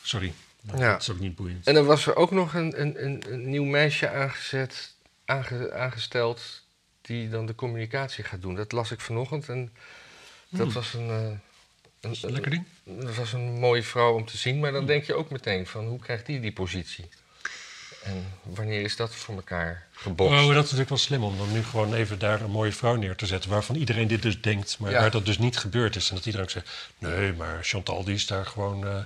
B: Sorry.
A: Ja.
B: Dat is ook niet boeiend.
A: En dan was er ook nog een, een, een, een nieuw meisje aangezet, aange- aangesteld die dan de communicatie gaat doen. Dat las ik vanochtend en dat was een, eh, Een-
B: Hmm. is een lekker ding.
A: Dat was een mooie vrouw om te zien, maar dan denk je ook meteen van hoe krijgt die die positie? En wanneer is dat voor elkaar gebokst?
B: Oh, dat is natuurlijk wel slim om dan nu gewoon even daar een mooie vrouw neer te zetten. Waarvan iedereen dit dus denkt, maar
A: Ja.
B: waar dat dus niet gebeurd is. En dat iedereen ook zegt, nee, maar Chantal die is daar gewoon... eh,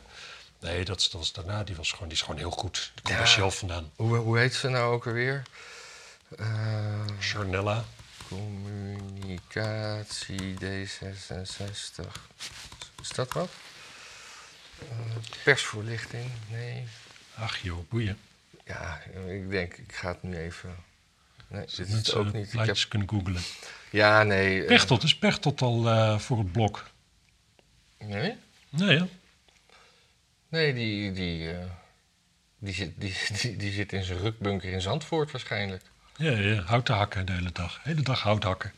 B: nee, dat, is- dat was daarna, die, was gewoon, die is gewoon heel goed. Die komt
A: Ja.
B: daar zelf vandaan.
A: Hoe, hoe heet ze nou ook alweer? Eh,
B: Charnella.
A: communicatie D66. Is dat wat? Eh, persvoorlichting? Nee.
B: Ach joh, boeien.
A: Ja, ik denk, ik ga het nu even. Nee, dit is het
B: Mensen
A: ook niet. Ik heb,
B: plaatjes kunnen googlen.
A: ja, nee. eh,
B: Pechtold, is Pechtold al eh, voor het blok?
A: nee?
B: Nee, hè?
A: Nee, die, die, eh, die, zit, die, die, die zit in zijn rukbunker in Zandvoort waarschijnlijk.
B: Ja, ja, hout te hakken de hele dag. De hele dag hout
A: [laughs]
B: hakken.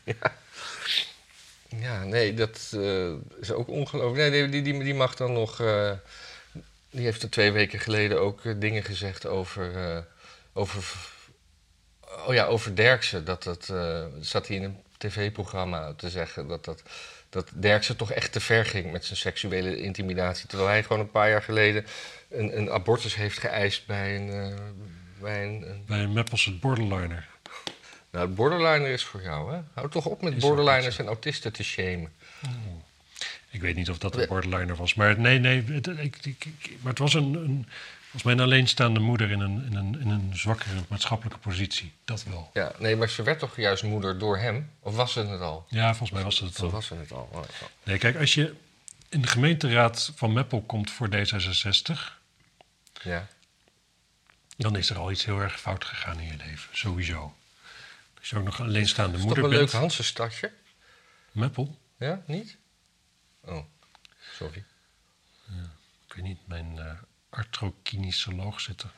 A: Ja, nee, dat eh, is ook ongelooflijk. Nee, die, die, die mag dan nog. eh, die heeft er twee weken geleden ook eh, dingen gezegd over. eh, over oh ja, over Derksen. Dat dat. eh, zat hij in een tv-programma te zeggen dat dat. Dat Derksen toch echt te ver ging met zijn seksuele intimidatie. Terwijl hij gewoon een paar jaar geleden een, een abortus heeft geëist bij een. eh, bij een, een-
B: Bij Meppels het borderliner.
A: Nou, het borderliner is voor jou, hè? Hou toch op met
B: Is ook niet
A: borderliners en autisten te shamen.
B: Ik weet niet of dat een
A: Nee.
B: borderliner was. Maar nee, nee. Het, ik, ik- ik- maar het was een, een, volgens mij een alleenstaande moeder in een, in een, in een zwakkere maatschappelijke positie. Dat wel.
A: Ja, nee, maar ze werd toch juist moeder door hem? Of was ze het al?
B: Ja, volgens mij was dat het
A: Ze
B: wel.
A: was ze het al. Oh, ja.
B: Nee, kijk, als je in de gemeenteraad van Meppel komt voor D66...
A: Ja.
B: dan is er al iets heel erg fout gegaan in je leven. Sowieso. Als je ook nog een alleenstaande
A: Is toch
B: moeder
A: een leuk
B: bent...
A: Hansenstadje?
B: Meppel?
A: Ja, niet? Oh, sorry.
B: Ik weet niet, mijn eh artrokiniceloog zit er.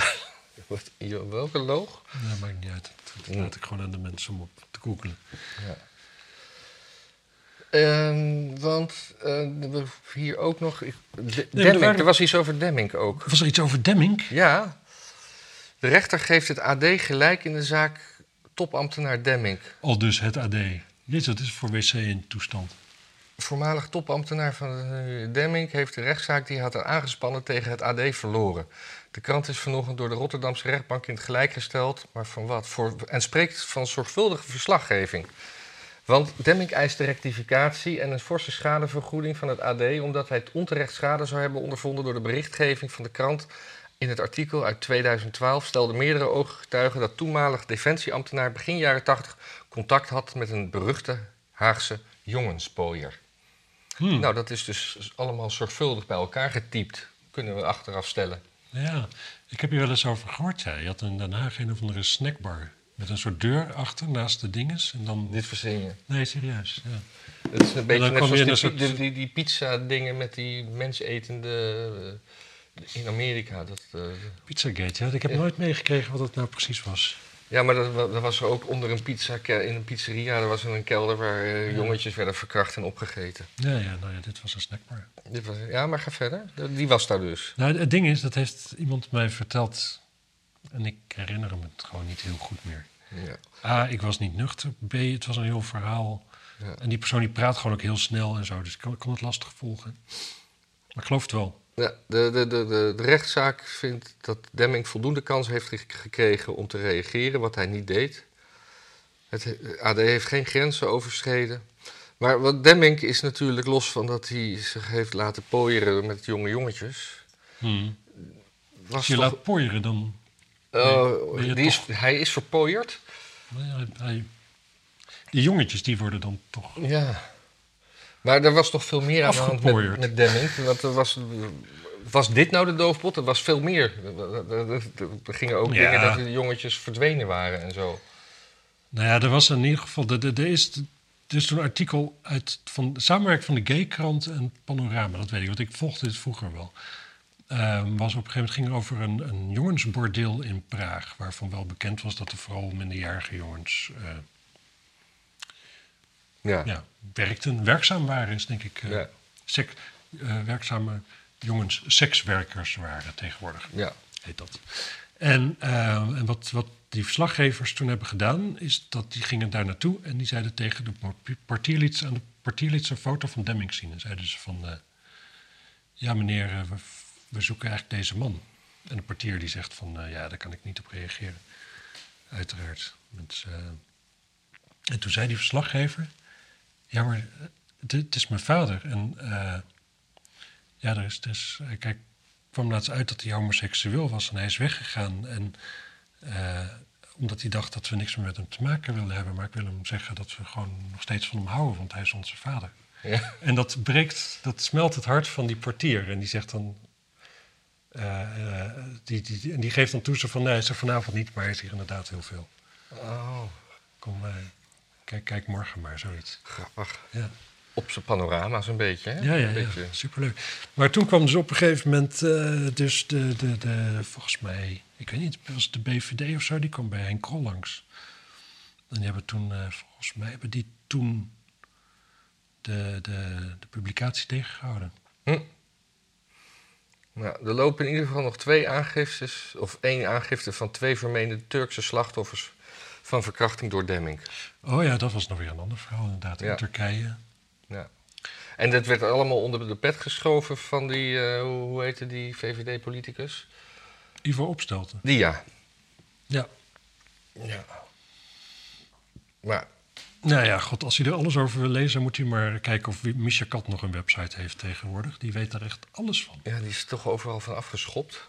A: [laughs] Wat, jo- welke loog?
B: Dat maakt niet uit. Dat, dat laat ik gewoon aan de mensen om op te googelen.
A: Ehm, want eh, we hier ook nog... Ik, de- Demmink,
B: waren-
A: er was iets over Demmink ook.
B: Was er iets over Demming?
A: Ja, de rechter geeft het AD gelijk in de zaak topambtenaar Demmink.
B: Al dus het AD. Jezus, dat is voor wc in toestand.
A: Voormalig topambtenaar van eh, Demmink heeft de rechtszaak die hij had aangespannen tegen het AD verloren. De krant is vanochtend door de Rotterdamse rechtbank in het gelijk gesteld, maar van wat? Voor, en spreekt van zorgvuldige verslaggeving. Want Demmink eiste rectificatie en een forse schadevergoeding van het AD omdat hij onterecht schade zou hebben ondervonden door de berichtgeving van de krant. In het artikel uit 2012 stelden meerdere ooggetuigen dat toenmalig defensieambtenaar begin jaren 80 contact had met een beruchte Haagse jongenspooier.
B: Hmm.
A: Nou, dat is dus allemaal zorgvuldig bij elkaar getypt, kunnen we achteraf stellen.
B: Ja, ik heb hier wel eens over gehoord. Ja. Je had in Den Haag een of andere snackbar. Met een soort deur achter, naast de dinges. En dan...
A: Dit verzingen.
B: Nee, serieus. Ja.
A: Het is een beetje
B: dan
A: net
B: kwam
A: zoals
B: je
A: die,
B: in een
A: pi-
B: soort-
A: die, die, die pizza-dingen met die mensetende eh, in Amerika. Dat, eh,
B: Pizzagate, ja. Ik heb nooit meegekregen wat dat nou precies was.
A: ja, maar dat, wa- dat was er ook onder een pizza, in een pizzeria. Er was een kelder waar eh, jongetjes werden verkracht en opgegeten.
B: Ja, ja, nou ja, dit was een snackbar.
A: Dit was, ja, maar ga verder. De- Die was daar dus.
B: Nou, het ding is, dat heeft iemand mij verteld. En ik herinner me het gewoon niet heel goed meer.
A: Ja.
B: A, ik was niet nuchter. B, het was een heel verhaal.
A: Ja.
B: En die persoon die praat gewoon ook heel snel en zo. Dus ik kan, ik kon het lastig volgen. Maar ik geloof het wel.
A: Ja, de, de, de, de, de rechtszaak vindt dat Demming voldoende kans heeft ge- gekregen om te reageren, wat hij niet deed. Het he- AD heeft geen grenzen overschreden. Maar wat Demming is natuurlijk los van dat hij zich heeft laten pooieren met jonge jongetjes. Was
B: Hmm. Als je
A: toch-
B: laat pooieren, dan...
A: Oh,
B: ben je
A: die is, hij is verpooierd.
B: nou ja, hij- hij- die jongetjes, die worden dan toch...
A: Ja. Maar er was toch veel meer aan de hand met,
B: Afgepooierd.
A: met Demming. Want er was, was dit nou de doofpot? Er was veel meer. Er- Er er- er gingen ook
B: Ja.
A: dingen dat de jongetjes verdwenen waren en zo.
B: Nou ja, er was in ieder geval... Er, er, er is, er is toen een artikel uit van de samenwerking van de Gaykrant en Panorama. Dat weet ik, want ik volgde dit vroeger wel. Ehm, was op een gegeven moment ging over een, een jongensbordeel in Praag... waarvan wel bekend was dat er vooral minderjarige jongens... eh,
A: Ja.
B: ja, werkten, werkzaam waren, is denk ik. eh,
A: Ja.
B: sek- eh, werkzame jongens, sekswerkers waren tegenwoordig,
A: ja.
B: heet dat. En, eh, en wat, wat die verslaggevers toen hebben gedaan, is dat die gingen daar naartoe en die zeiden tegen de partierlieds aan de partierlieds een foto van Demming zien. En zeiden ze van, eh, ja meneer, eh, we, we zoeken eigenlijk deze man. En de portier die zegt van, eh, ja, daar kan ik niet op reageren. Uiteraard. Met, eh, En toen zei die verslaggever, ja, maar eh, het, het is mijn vader. En eh, ja, er is, er is, eh, kijk, kwam laatst uit dat hij homoseksueel was en hij is weggegaan. En eh, omdat hij dacht dat we niks meer met hem te maken wilden hebben. Maar ik wil hem zeggen dat we gewoon nog steeds van hem houden, want hij is onze vader.
A: Ja.
B: En dat breekt, dat smelt het hart van die portier. En die zegt dan. eh, eh, die, die, die- en die geeft dan toe zo van, nee, hij is er vanavond niet, maar hij is hier inderdaad heel veel.
A: Oh,
B: Kom, eh, kijk, kijk morgen maar, zoiets.
A: grappig.
B: Ja.
A: Op zijn panorama's een beetje, hè?
B: Ja, ja,
A: Een
B: ja,
A: beetje.
B: superleuk. Maar toen kwam dus op een gegeven moment, eh, dus de, de, de, volgens mij, ik weet niet, was het de BVD of zo, die kwam bij Henk Krol langs. En die hebben toen, eh, volgens mij, hebben die toen de, de, de publicatie tegengehouden.
A: Nou, er lopen in ieder geval nog twee aangiftes, of één aangifte van twee vermeende Turkse slachtoffers van verkrachting door Demming.
B: Oh ja, dat was nog weer een ander verhaal inderdaad, in
A: Ja.
B: Turkije.
A: Ja. En dat werd allemaal onder de pet geschoven van die, eh, hoe, hoe heette die VVD-politicus?
B: Ivo Opstelten.
A: Die ja.
B: Ja.
A: Ja. Maar
B: Nou ja, god, als hij er alles over wil lezen, moet hij maar kijken of Misha Kat nog een website heeft tegenwoordig. Die weet daar echt alles van.
A: ja, die is toch overal van afgeschopt.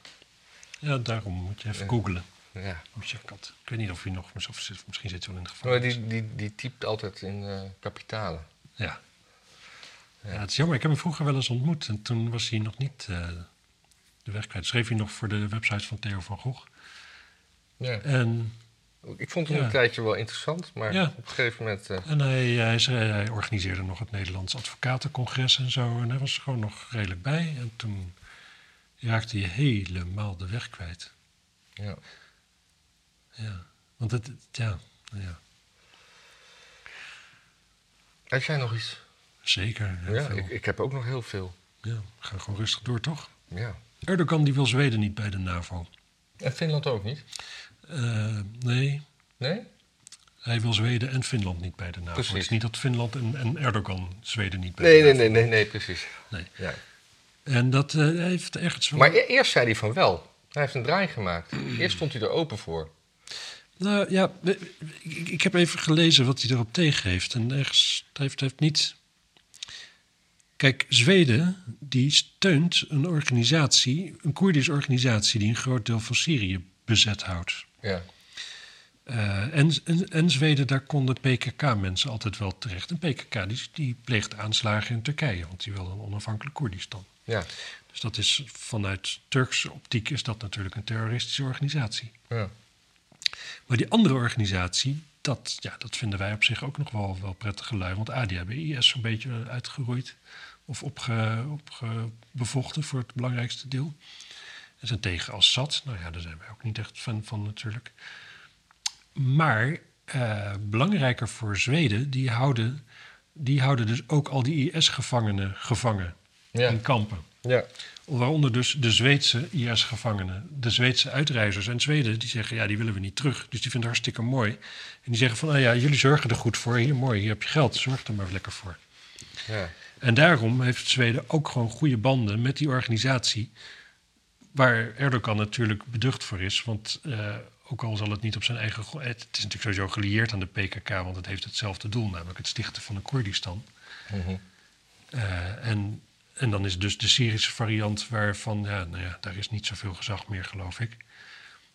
B: Ja, daarom moet je even
A: Ja.
B: googlen.
A: Ja.
B: Misha Oh, Kat. Ik weet niet of hij nog, of zit- misschien zit hij wel in het
A: Maar
B: gevangenis.
A: Oh, die, die, die typt altijd in eh, kapitalen.
B: Ja. ja. Het is jammer, ik heb hem vroeger wel eens ontmoet en toen was hij nog niet eh, de weg kwijt. Schreef hij nog voor de website van Theo van Gogh.
A: Ja.
B: En
A: Ik vond hem
B: Ja.
A: een tijdje wel interessant, maar
B: Ja.
A: op een gegeven moment... eh,
B: En hij, hij, zei- hij organiseerde nog het Nederlands Advocatencongres en zo. En hij was er gewoon nog redelijk bij. En toen raakte hij helemaal de weg kwijt.
A: ja.
B: Ja. Want het, het- ja, nou ja,
A: Had jij nog iets?
B: zeker. heel
A: Ja,
B: veel.
A: ik, ik heb ook nog heel veel.
B: ja, ga gewoon rustig door, toch?
A: Ja.
B: Erdogan die wil Zweden niet bij de NAVO.
A: En Finland ook niet?
B: Eh, nee,
A: Nee?
B: hij wil Zweden en Finland niet bij de NAVO.
A: Precies.
B: Het is niet dat Finland en, en Erdogan Zweden niet bij
A: Nee,
B: de
A: nee,
B: NAVO.
A: nee, nee, nee, precies.
B: Nee.
A: Ja.
B: En dat eh, hij heeft ergens wel...
A: Maar e- eerst zei hij van wel. Hij heeft een draai gemaakt. Eerst stond hij er open voor.
B: Nou ja, we- ik, ik heb even gelezen wat hij erop tegen heeft. En ergens hij heeft hij heeft niet. Kijk, Zweden die steunt een organisatie, een Koerdische organisatie die een groot deel van Syrië bezet houdt.
A: Ja.
B: Eh, en, en, en Zweden, daar konden PKK-mensen altijd wel terecht. En PKK die, die pleegt aanslagen in Turkije, want die wil een onafhankelijk Koerdistan.
A: Ja.
B: Dus dat is vanuit Turkse optiek is dat natuurlijk een terroristische organisatie.
A: ja.
B: Maar die andere organisatie, dat, ja, dat vinden wij op zich ook nog wel, wel prettig lui. Want A, die hebben IS zo'n beetje uitgeroeid of opge, opge, bevochten voor het belangrijkste deel. En zijn tegen Assad. Nou ja, daar zijn wij ook niet echt fan van natuurlijk. Maar eh, belangrijker voor Zweden, die houden, die houden dus ook al die IS-gevangenen gevangen
A: Ja.
B: in kampen.
A: Ja.
B: Waaronder dus de Zweedse IS-gevangenen, de Zweedse uitreizers en Zweden, die zeggen: ja, die willen we niet terug. Dus die vinden het hartstikke mooi. En die zeggen: van nou ja, jullie zorgen er goed voor. Hier, mooi, hier heb je geld, zorg er maar lekker voor.
A: Ja.
B: En daarom heeft Zweden ook gewoon goede banden met die organisatie. Waar Erdogan natuurlijk beducht voor is. Want eh, ook al zal het niet op zijn eigen. gro- Het het is natuurlijk sowieso gelieerd aan de PKK, want het heeft hetzelfde doel, namelijk het stichten van een Koerdistan.
A: Mhm.
B: Eh, en, en dan is dus de Syrische variant waarvan, ja, nou ja, daar is niet zoveel gezag meer, geloof ik.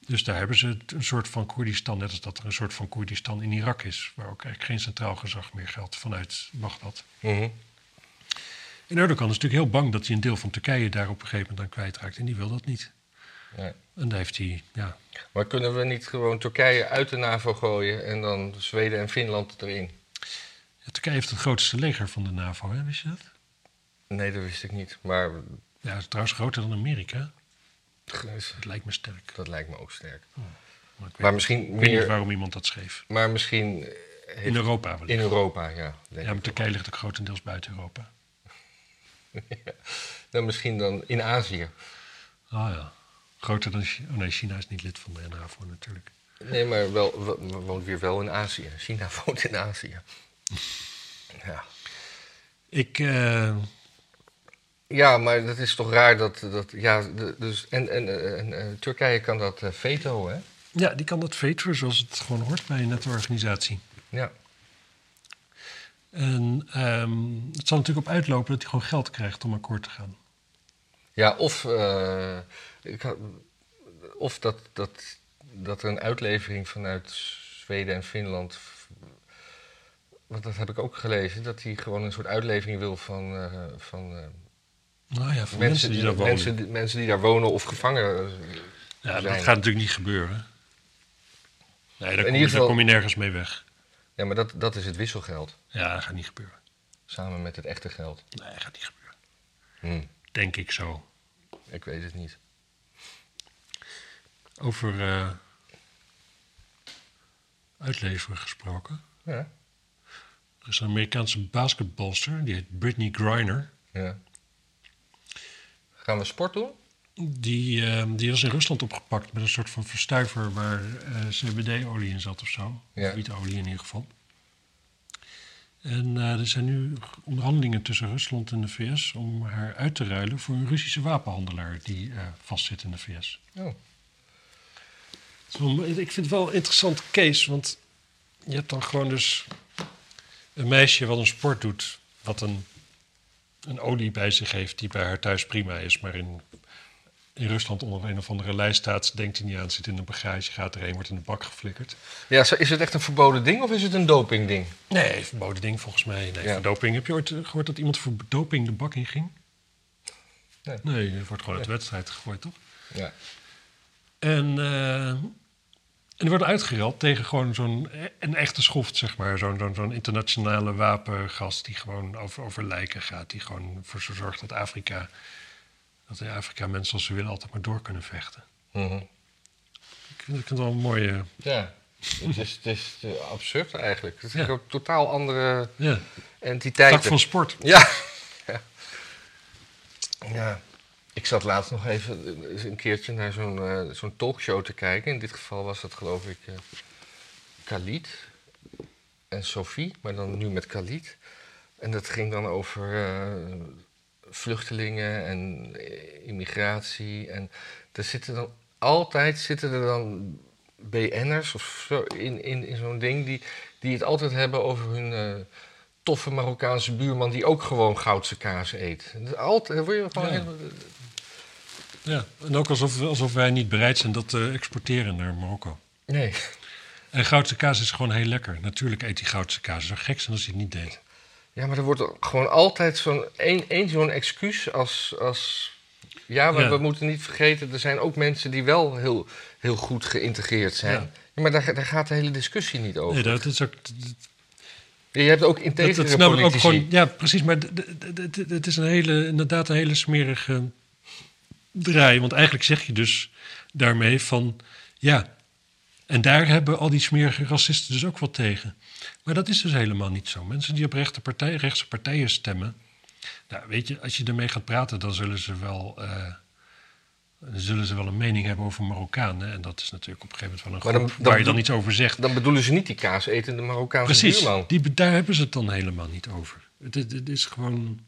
B: Dus daar hebben ze het- een soort van Koerdistan, net als dat er een soort van Koerdistan in Irak is, waar ook eigenlijk geen centraal gezag meer geldt vanuit Bagdad.
A: Mhm.
B: En Erdogan is natuurlijk heel bang dat hij een deel van Turkije daar op een gegeven moment aan kwijtraakt. En die wil dat niet.
A: Nee.
B: En daar heeft hij, ja.
A: Maar kunnen we niet gewoon Turkije uit de NAVO gooien en dan Zweden en Finland erin?
B: Ja, Turkije heeft het grootste leger van de NAVO, hè? wist je dat?
A: Nee, dat wist ik niet. Maar
B: Ja, het is trouwens groter dan Amerika. Het lijkt me sterk.
A: dat lijkt me ook sterk.
B: Maar ik weet,
A: Maar misschien
B: ik weet niet
A: meer.
B: waarom iemand dat schreef.
A: Maar misschien heeft-
B: In Europa wellicht.
A: in Europa, ja. denk
B: Ja,
A: ik. [laughs]
B: maar Turkije ligt ook grotendeels buiten Europa.
A: Dan misschien dan in Azië.
B: Ah ja. Groter dan China. Oh nee, China is niet lid van de NAVO natuurlijk.
A: Nee, maar wel, we, we woont weer wel in Azië. China [laughs] woont in Azië. Ja.
B: Ik, eh,
A: Ja, maar dat is toch raar dat. dat ja, de- dus, en en, eh, en eh, Turkije kan dat eh, veto, hè?
B: ja, die kan dat veteren zoals het gewoon hoort bij een nette organisatie.
A: Ja.
B: En ehm, het zal natuurlijk op uitlopen dat hij gewoon geld krijgt om akkoord te gaan.
A: Ja, of, eh, ik had- of dat, dat, dat er een uitlevering vanuit Zweden en Finland. Want dat heb ik ook gelezen, dat hij gewoon een soort uitlevering wil van, eh, van eh,
B: Nou ja, voor mensen,
A: mensen,
B: die daar wonen.
A: Mensen, die- mensen die daar wonen of gevangen. eh,
B: ja, dat
A: zijn.
B: gaat natuurlijk niet gebeuren. Nee, daar
A: ieder
B: kom, je, daar
A: geval-
B: kom je nergens mee weg.
A: Ja, maar dat, dat is het wisselgeld.
B: Ja, dat gaat niet gebeuren.
A: Samen met het echte geld.
B: Nee, dat gaat niet gebeuren.
A: Hm,
B: Denk ik zo.
A: ik weet het niet.
B: Over eh, uitleveren gesproken.
A: Ja.
B: Er is een Amerikaanse basketbalster, die heet Britney Griner.
A: ja. Gaan we sport doen?
B: Die, eh, die was in Rusland opgepakt met een soort van verstuiver waar eh, CBD-olie in zat of zo.
A: Ja.
B: Of wietolie in ieder geval. En eh, er zijn nu onderhandelingen tussen Rusland en de VS om haar uit te ruilen voor een Russische wapenhandelaar die eh, vastzit in de VS.
A: Oh.
B: Het is wel- Ik vind het wel een interessante case, want je hebt dan gewoon dus een meisje wat een sport doet, wat een, een olie bij zich heeft die bij haar thuis prima is, maar in, in Rusland onder een of andere lijst staat, ze denkt hij niet aan, zit in een bagage, gaat erheen, wordt in de bak geflikkerd.
A: Ja, zo- is het echt een verboden ding of is het een dopingding?
B: Nee, verboden ding volgens mij. Nee,
A: Ja.
B: voor doping. Heb je ooit eh, gehoord dat iemand voor doping de bak in ging?
A: Nee.
B: Nee, je wordt gewoon uit de wedstrijd gegooid, toch?
A: Ja.
B: En, eh, en die worden uitgereld tegen gewoon zo'n eh, een echte schoft, zeg maar. Zo'n zo'n zo'n internationale wapengast die gewoon over, over lijken gaat. Die gewoon voor zo zorgt dat Afrika, dat in Afrika mensen als ze willen altijd maar door kunnen vechten.
A: Mhm.
B: Ik vind, ik vind het wel een mooie...
A: Ja, het is, het is eh, absurd eigenlijk. Het is
B: Ja.
A: een totaal andere
B: Ja, tak
A: entiteit.
B: van sport.
A: Ja. ja. Ja. Ik zat laatst nog even eh, eens een keertje naar zo'n eh, zo'n talkshow te kijken. In dit geval was dat geloof ik eh Khalid en Sophie, maar dan nu met Khalid. En dat ging dan over eh, vluchtelingen en eh, immigratie. En er zitten dan altijd zitten er dan BN'ers of zo in, in, in zo'n ding die, die het altijd hebben over hun eh, toffe Marokkaanse buurman die ook gewoon goudse kaas eet. Altijd, daar word je gewoon
B: Ja.
A: helemaal-
B: Ja. En ook alsof, alsof wij niet bereid zijn dat te exporteren naar Marokko.
A: Nee.
B: En goudse kaas is gewoon heel lekker. Natuurlijk eet die goudse kaas. Het zou gek zijn als hij het niet deed.
A: Ja, maar er wordt gewoon altijd zo'n één, één zo'n excuus als, als... Ja, maar
B: Ja.
A: we moeten niet vergeten, er zijn ook mensen die wel heel, heel goed geïntegreerd zijn.
B: Ja.
A: Ja, maar daar, daar gaat de hele discussie niet over.
B: Nee, dat is ook,
A: Je hebt ook
B: Dat, dat
A: integere
B: snap ik ook
A: politici.
B: gewoon. Ja, precies. Maar d- d- d- d- het is een hele, inderdaad een hele smerige draai. Want eigenlijk zeg je dus daarmee van... Ja, en daar hebben al die smerige racisten dus ook wat tegen. Maar dat is dus helemaal niet zo. Mensen die op rechte partij, rechtse partijen stemmen... Nou, weet je, als je ermee gaat praten, dan zullen ze wel... eh, dan zullen ze wel een mening hebben over Marokkanen. En dat is natuurlijk op een gegeven moment
A: Maar
B: wel een
A: dan-
B: groep
A: dan
B: waar je dan
A: doe-
B: iets over zegt.
A: Dan bedoelen ze niet die kaasetende Marokkaanse
B: Precies,
A: buurman.
B: die, be- daar hebben ze het dan helemaal niet over. Het, het, het is gewoon.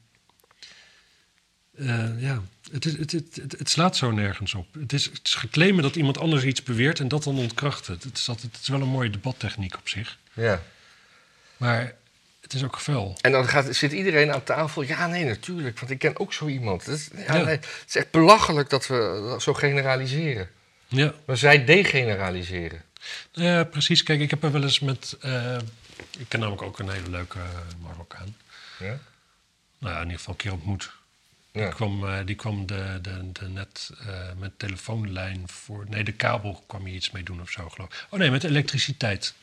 B: eh, ja, het, is- het, het, het, het slaat zo nergens op. Het is, het is geclaimen dat iemand anders iets beweert en dat dan ontkrachten. Het is, altijd, het is wel een mooie debattechniek op zich.
A: Ja.
B: Maar het is ook vuil.
A: En dan gaat, zit iedereen aan tafel. Ja, nee, natuurlijk, want ik ken ook zo iemand. Dat is, ja,
B: Ja.
A: nee, het is echt belachelijk dat we zo generaliseren.
B: Ja.
A: Maar zij degeneraliseren.
B: Ja, precies. Kijk, ik heb er wel eens met. eh, ik ken namelijk ook een hele leuke eh, Marokkaan.
A: Ja?
B: Nou ja, in ieder geval een keer ontmoet.
A: Ja.
B: Die kwam, eh, die kwam de, de, de net eh, met telefoonlijn voor. Nee, de kabel kwam hier iets mee doen of zo, geloof ik. Oh nee, met elektriciteit.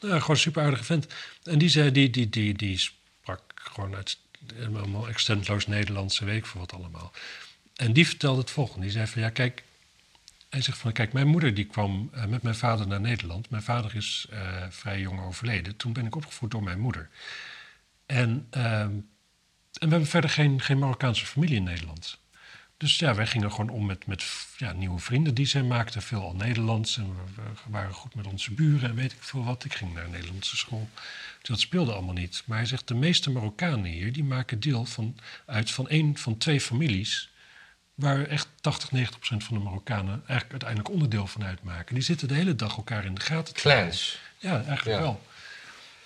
B: Nou, gewoon een super aardige vent. En die, zei, die, die, die, die sprak gewoon uit helemaal extentloos Nederlands en weet ik voor wat allemaal. En die vertelde het volgende. Die zei van ja, kijk. Hij zegt van kijk, mijn moeder die kwam eh, met mijn vader naar Nederland. Mijn vader is eh, vrij jong overleden. Toen ben ik opgevoed door mijn moeder. En ehm, en we hebben verder geen, geen Marokkaanse familie in Nederland. Dus ja, wij gingen gewoon om met, met ja, nieuwe vrienden die zij maakten. Veel al Nederlands. En we, we waren goed met onze buren en weet ik veel wat. Ik ging naar een Nederlandse school. Dus dat speelde allemaal niet. Maar hij zegt, de meeste Marokkanen hier... die maken deel van, uit van één van twee families... waar echt 80, 90 procent van de Marokkanen... eigenlijk uiteindelijk onderdeel van uitmaken. Die zitten de hele dag elkaar in de gaten te
A: Clans.
B: ja, eigenlijk
A: Ja.
B: wel.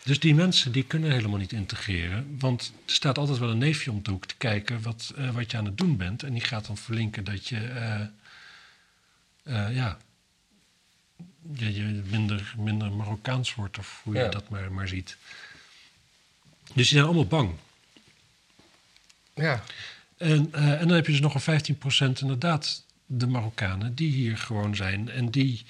B: Dus die mensen die kunnen helemaal niet integreren. Want er staat altijd wel een neefje om de hoek te kijken wat, eh, wat je aan het doen bent. En die gaat dan verlinken dat je, eh, eh, ja, je, je minder, minder Marokkaans wordt of hoe
A: Ja.
B: je dat maar, maar ziet. Dus die zijn allemaal bang.
A: Ja,
B: En, eh, en dan heb je dus nog een 15% inderdaad de Marokkanen die hier gewoon zijn. En die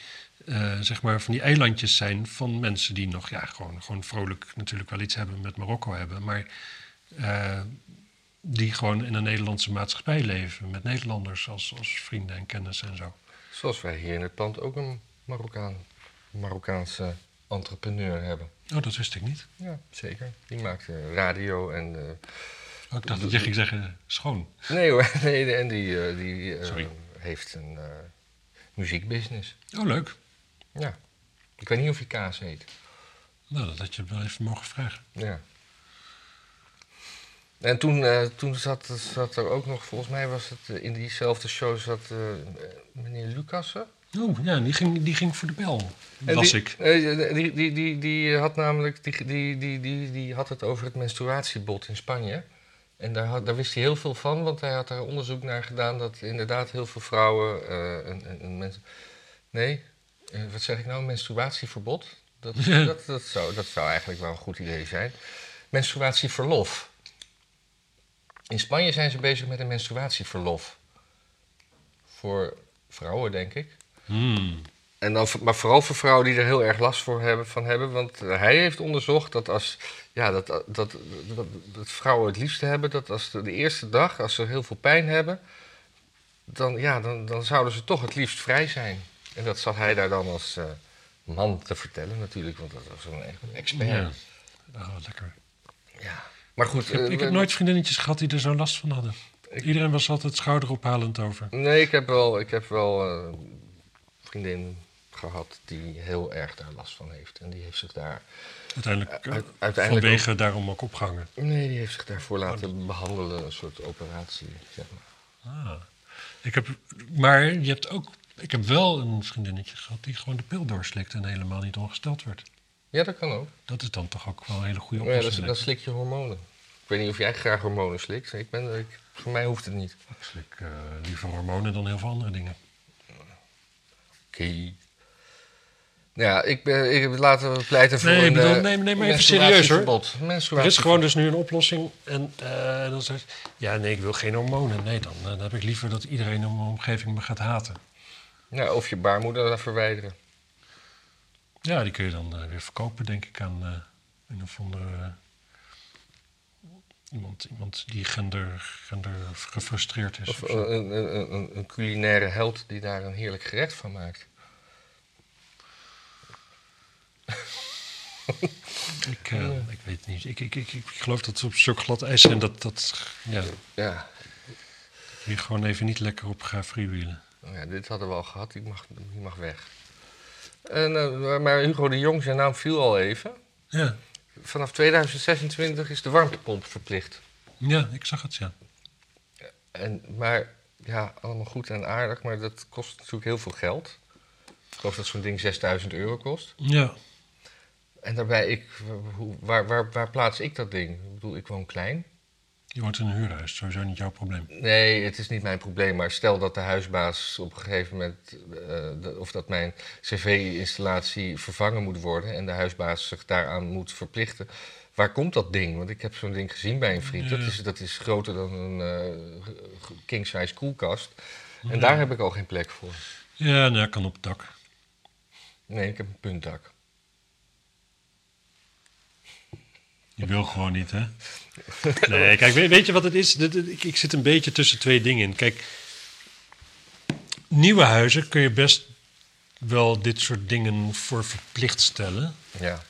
B: eh, zeg maar van die eilandjes zijn van mensen die nog ja, gewoon, gewoon vrolijk natuurlijk wel iets hebben met Marokko hebben. Maar eh, die gewoon in een Nederlandse maatschappij leven. Met Nederlanders als, als vrienden en kennissen en zo.
A: zoals wij hier in het pand ook een Marokkaan, Marokkaanse entrepreneur hebben.
B: Oh, dat wist ik niet.
A: Ja, zeker. Die maakt eh, radio en... eh,
B: Oh, ik dacht dat je ging zeggen schoon.
A: Nee hoor, [laughs] nee, en die, eh, die eh,
B: Sorry.
A: heeft een eh, muziekbusiness.
B: Oh, leuk.
A: Ja. Ik weet niet of hij kaas heet.
B: Nou, dat had je wel even mogen vragen.
A: Ja. En toen, eh, toen zat, zat er ook nog, volgens mij was het eh, in diezelfde show, zat eh, meneer Lucassen.
B: Oh, ja, die ging, die ging voor de bel.
A: En
B: Was
A: die,
B: ik.
A: eh, die, die, die, die had namelijk die, die, die, die, die had het over het menstruatiebod in Spanje. En daar, had, daar wist hij heel veel van, want hij had daar onderzoek naar gedaan dat inderdaad heel veel vrouwen. eh, een, een, een mens- nee, eh, wat zeg ik nou? Menstruatieverbod? Dat,
B: [laughs]
A: dat, dat, zou, dat zou eigenlijk wel een goed idee zijn. Menstruatieverlof. In Spanje zijn ze bezig met een menstruatieverlof. Voor vrouwen, denk ik.
B: Hmm.
A: En dan, v- maar vooral voor vrouwen die er heel erg last voor hebben, van hebben. Want eh, hij heeft onderzocht dat als ja, dat, dat, dat, dat, dat vrouwen het liefste hebben, dat als de, de eerste dag, als ze heel veel pijn hebben, dan, ja, dan, dan zouden ze toch het liefst vrij zijn. En dat zat hij daar dan als eh, man te vertellen natuurlijk, want dat was een echt een expert.
B: Ja.
A: Ja.
B: Oh, lekker.
A: Maar goed,
B: Ik heb,
A: eh,
B: ik heb
A: we-
B: nooit vriendinnetjes gehad die er zo last van hadden.
A: Ik-
B: Iedereen was altijd schouderophalend over.
A: Nee, ik heb wel, ik heb wel eh, een vriendin gehad die heel erg daar last van heeft. En die heeft zich daar
B: Uiteindelijk, eh,
A: Uit- uiteindelijk
B: vanwege daarom ook opgehangen.
A: Nee, die heeft zich daarvoor
B: Oh,
A: laten behandelen, een soort operatie, zeg maar.
B: Ah. Ik heb, maar je hebt ook, ik heb wel een vriendinnetje gehad die gewoon de pil doorslikt en helemaal niet ongesteld werd.
A: Ja, dat kan ook.
B: Dat is dan toch ook wel een hele goede
A: Maar Oh ja,
B: oplossing.
A: dat, dat slik je hormonen. Ik weet niet of jij graag hormonen slikt. Ik ben, ik, voor mij hoeft het niet.
B: Ik slik eh, liever hormonen dan heel veel andere dingen.
A: Oké. Ja, ik ben, ik, laten we pleiten voor
B: Nee,
A: een...
B: bedoel,
A: eh,
B: neem- neem maar even
A: menstruatieverbod.
B: serieus, hoor. Er is
A: Menstruatieverbod.
B: gewoon dus nu een oplossing. En eh, dan zegt ja, nee, ik wil geen hormonen. Nee, dan, eh, dan heb ik liever dat iedereen in mijn omgeving me gaat haten.
A: Ja, of je baarmoeder laat verwijderen.
B: Ja, die kun je dan eh, weer verkopen, denk ik, aan eh, een of andere. eh, iemand, iemand die gender, gender gefrustreerd is.
A: Of eh,
B: of zo.
A: een, een, een- een, een culinaire held die daar een heerlijk gerecht van maakt.
B: ik, eh, ik weet het niet. Ik, ik, ik, ik geloof dat we op zulk glad ijs zijn dat, dat ja,
A: Ja,
B: hier gewoon even niet lekker op ga freewheelen.
A: Nou ja, dit hadden we al gehad, die mag, die mag weg. En, eh, maar Hugo de Jong, zijn naam viel al even.
B: Ja.
A: Vanaf 2026 is de warmtepomp verplicht.
B: ja, ik zag het, ja.
A: En, maar ja, allemaal goed en aardig, maar dat kost natuurlijk heel veel geld. Ik geloof dat zo'n ding 6000 euro kost.
B: Ja,
A: En daarbij, ik, w- hoe- waar, waar, waar plaats ik dat ding? Ik bedoel, ik woon klein.
B: je woont in een huurhuis, sowieso niet jouw probleem.
A: Nee, het is niet mijn probleem, maar stel dat de huisbaas op een gegeven moment... eh, de- of dat mijn cv-installatie vervangen moet worden... en de huisbaas zich daaraan moet verplichten. Waar komt dat ding? Want ik heb zo'n ding gezien bij een vriend. Dat
B: Ja.
A: is, dat is groter dan een eh, g- king-size koelkast. En daar heb ik al geen plek voor.
B: Ja, nou, dat kan op het dak.
A: Nee, ik heb een puntdak.
B: Je wil gewoon niet, hè? Nee, kijk, weet, weet je wat het is? Dit- dit- ik, ik zit een beetje tussen twee dingen in. Kijk, nieuwe huizen kun je best wel dit soort dingen voor verplicht stellen.
A: Ja.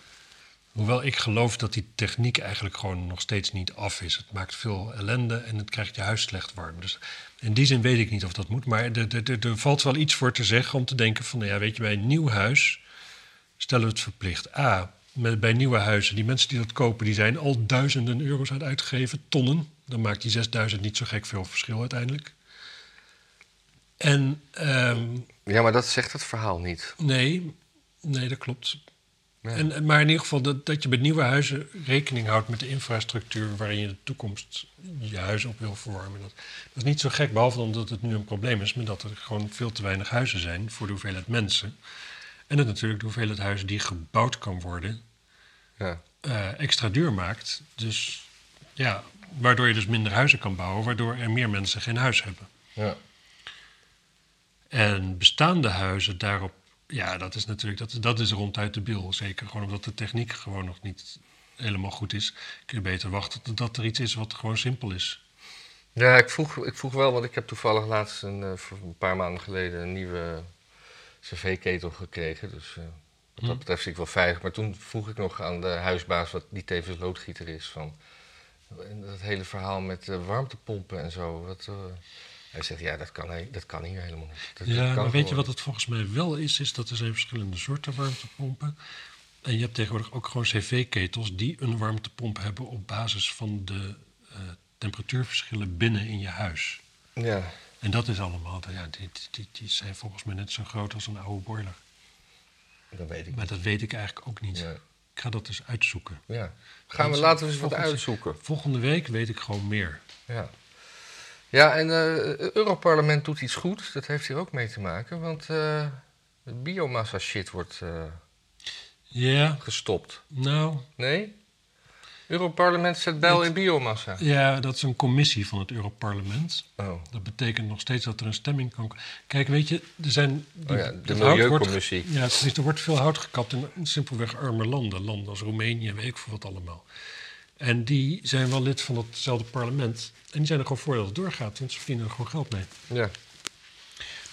B: Hoewel ik geloof dat die techniek eigenlijk gewoon nog steeds niet af is. Het maakt veel ellende en het krijgt je huis slecht warm. Dus in die zin weet ik niet of dat moet. Maar er, er, er- er valt wel iets voor te zeggen om te denken van... nou Ja, weet je, bij een nieuw huis stellen we het verplicht. A, met, bij nieuwe huizen, die mensen die dat kopen... die zijn al duizenden euro's aan het uitgeven, tonnen. Dan maakt die 6000 niet zo gek veel verschil uiteindelijk. En ehm,
A: Ja, maar dat zegt het verhaal niet.
B: Nee, nee, dat klopt.
A: Ja.
B: En, en- maar in ieder geval dat, dat je bij nieuwe huizen rekening houdt met de infrastructuur waarin je in de toekomst je huis op wil verwarmen. Dat, dat is niet zo gek, behalve omdat het nu een probleem is, maar dat er gewoon veel te weinig huizen zijn voor de hoeveelheid mensen. En dat natuurlijk de hoeveelheid huizen die gebouwd kan worden
A: Ja.
B: eh, extra duur maakt. Dus ja, waardoor je dus minder huizen kan bouwen, waardoor er meer mensen geen huis hebben.
A: Ja.
B: En bestaande huizen daarop, ja, dat is natuurlijk, dat, dat is ronduit de bil. Zeker gewoon omdat de techniek gewoon nog niet helemaal goed is. Kun je beter wachten totdat er iets is wat gewoon simpel is.
A: Ja, ik vroeg, ik vroeg wel, want ik heb toevallig laatst een, eh, voor een paar maanden geleden een nieuwe cv-ketel gekregen. Dus eh, wat dat
B: Hmm.
A: betreft zit ik wel veilig. Maar toen vroeg ik nog aan de huisbaas, wat die tevens loodgieter is, van en dat hele verhaal met eh, warmtepompen en zo. Wat, eh, hij zegt, ja, dat kan, he- dat kan hier helemaal niet. Dat- dat
B: ja,
A: kan
B: maar weet je
A: gewoon
B: wat het volgens mij wel is? Is dat er zijn verschillende soorten warmtepompen. En je hebt tegenwoordig ook gewoon cv-ketels die een warmtepomp hebben op basis van de eh, temperatuurverschillen binnen in je huis.
A: niet. Ja,
B: En dat is allemaal, ja, die, die- die, die zijn volgens mij net zo groot als een oude boiler.
A: dat weet ik
B: Maar dat weet ik eigenlijk ook niet.
A: Ja.
B: Ik ga dat eens uitzoeken.
A: Ja. Gaan we,
B: Mensen-
A: laten we eens wat
B: volgens-
A: uitzoeken.
B: Volgende week weet ik gewoon meer.
A: Ja, ja en het Europarlement doet iets goed. Dat heeft hier ook mee te maken, want eh, de biomassa shit wordt eh,
B: Ja,
A: gestopt.
B: nou,
A: Nee? Europarlement zet bijl in biomassa.
B: ja, dat is een commissie van het Europarlement.
A: Oh,
B: Dat betekent nog steeds dat er een stemming kan... Kijk, weet je, er zijn... die-
A: oh ja, de
B: dat hout wordt-
A: Milieucommissie.
B: Ja, precies. Er wordt veel hout gekapt in simpelweg arme landen. Landen als Roemenië, weet ik veel wat allemaal. En die zijn wel lid van datzelfde parlement. En die zijn er gewoon voor dat het doorgaat, want ze verdienen er gewoon geld mee.
A: Ja.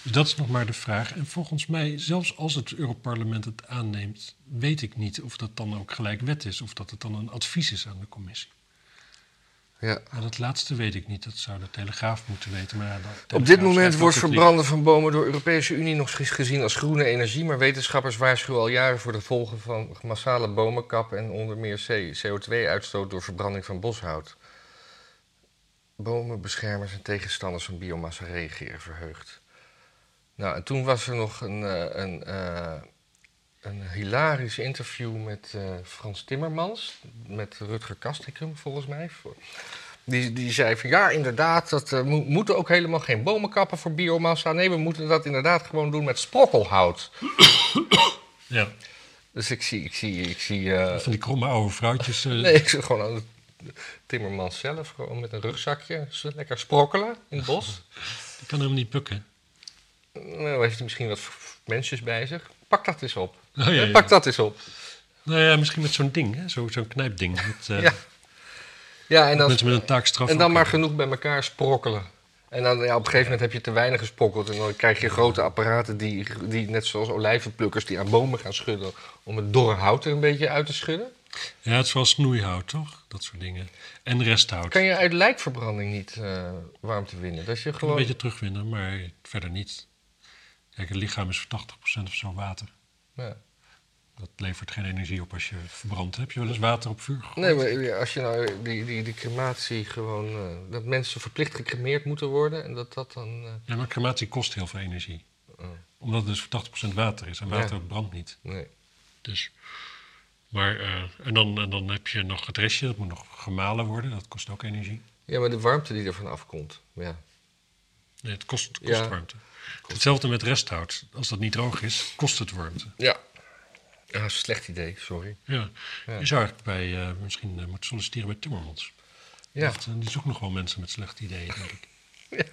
B: Dus dat is nog maar de vraag. En volgens mij, zelfs als het Europarlement het aanneemt, weet ik niet of dat dan ook gelijk wet is of dat het dan een advies is aan de commissie.
A: Ja.
B: Maar dat laatste weet ik niet. Dat zou de Telegraaf moeten weten. Maar ja, de
A: Op
B: Telegraaf
A: dit
B: schrijft
A: moment
B: ook
A: wordt
B: het lied.
A: verbranden van bomen door de Europese Unie nog eens gezien als groene energie, maar wetenschappers waarschuwen al jaren voor de gevolgen van massale bomenkap en onder meer C- CO2-uitstoot door verbranding van boshout. Bomen, beschermers en tegenstanders van biomassa reageren verheugd. Nou, en toen was er nog een, eh, een, eh, een hilarisch interview met eh, Frans Timmermans, met Rutger Kastrikum volgens mij, voor- die, die zei van ja, inderdaad, dat, eh, mo- moeten ook helemaal geen bomen kappen voor biomassa. Nee, we moeten dat inderdaad gewoon doen met sprokkelhout.
B: Ja,
A: Dus ik zie, ik zie, ik zie. eh,
B: van die kromme oude vrouwtjes.
A: [laughs]
B: eh,
A: nee, ik zie gewoon aan de Timmerman zelf, gewoon met een rugzakje, zo lekker sprokkelen in het bos. [laughs]
B: Die kan helemaal niet bukken.
A: Nou, heeft hij misschien wat mensjes bij zich. Pak dat eens op.
B: Oh, ja, ja.
A: Pak dat eens op.
B: Nou ja, misschien met zo'n ding, hè? Zo, zo'n knijpding. Dat, eh,
A: Ja. Ja, en dan,
B: mensen met een taakstraf.
A: en dan
B: ook
A: maar
B: hebben.
A: genoeg bij elkaar sprokkelen. En dan, ja, op een gegeven moment heb je te weinig gesprokkeld. En dan krijg je grote apparaten die, die net zoals olijvenplukkers, die aan bomen gaan schudden. om het dorre hout er een beetje uit te schudden.
B: Ja, het is wel snoeihout, toch? Dat soort dingen. En resthout.
A: Kan je uit lijkverbranding niet eh, warmte winnen? Dat je
B: Een
A: gewoon.
B: beetje terugwinnen, maar verder niet. Kijk, het lichaam is voor 80% of zo water.
A: Ja.
B: Dat levert geen energie op als je verbrandt. Heb je wel eens water op vuur gegooid?
A: Nee, maar ja, als je nou die, die, die crematie gewoon. eh, dat mensen verplicht gecremeerd moeten worden. en dat dat dan. eh,
B: Ja, maar crematie kost heel veel energie.
A: Oh.
B: Omdat het dus voor 80% water is. En
A: Ja.
B: water brandt niet.
A: nee.
B: Dus. Maar, eh, en, dan, en dan heb je nog het restje. Dat moet nog gemalen worden. Dat kost ook energie.
A: Ja, maar de warmte die ervan afkomt. Ja.
B: Nee, het kost, het kost
A: Ja.
B: warmte. Hetzelfde met resthout. Als dat niet droog is, kost het warmte.
A: Ja. Ja, slecht idee, sorry. [laughs]
B: Ja.
A: Ja.
B: Je zou eigenlijk bij, eh, misschien eh, moeten solliciteren bij Timmermans.
A: Ja.
B: Dat, eh, die zoekt nog wel mensen met slechte ideeën, denk
A: [laughs]
B: ik.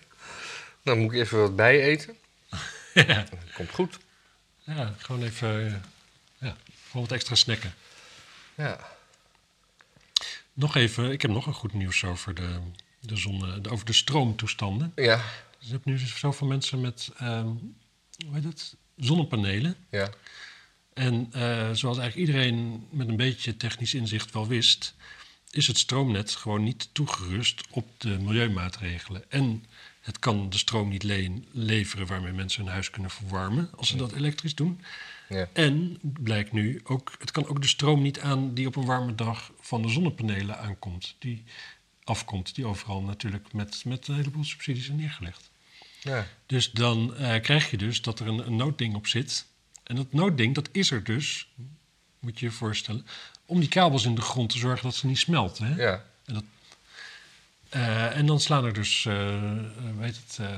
A: Dan moet ik even wat bijeten.
B: ja.
A: Komt goed.
B: Ja, gewoon even eh, ja, gewoon wat extra snacken.
A: Ja.
B: Nog even, ik heb nog een goed nieuws over de, de, zonne, de- over de stroomtoestanden.
A: Ja.
B: Dus je hebt nu zoveel mensen met ehm, hoe heet het? zonnepanelen.
A: Ja.
B: En eh, zoals eigenlijk iedereen met een beetje technisch inzicht wel wist, is het stroomnet gewoon niet toegerust op de milieumaatregelen. En het kan de stroom niet leen- leveren waarmee mensen hun huis kunnen verwarmen als ze dat elektrisch doen.
A: Ja.
B: En blijkt nu ook, het kan ook de stroom niet aan die op een warme dag van de zonnepanelen aankomt. Die afkomt, die overal natuurlijk met, met een heleboel subsidies zijn neergelegd.
A: Ja.
B: Dus dan eh, krijg je dus dat er een, een noodding op zit. En dat noodding, dat is er dus, moet je je voorstellen, om die kabels in de grond te zorgen dat ze niet smelten. Hè?
A: ja.
B: En, dat, Eh, en dan slaan er dus, weet het, eh,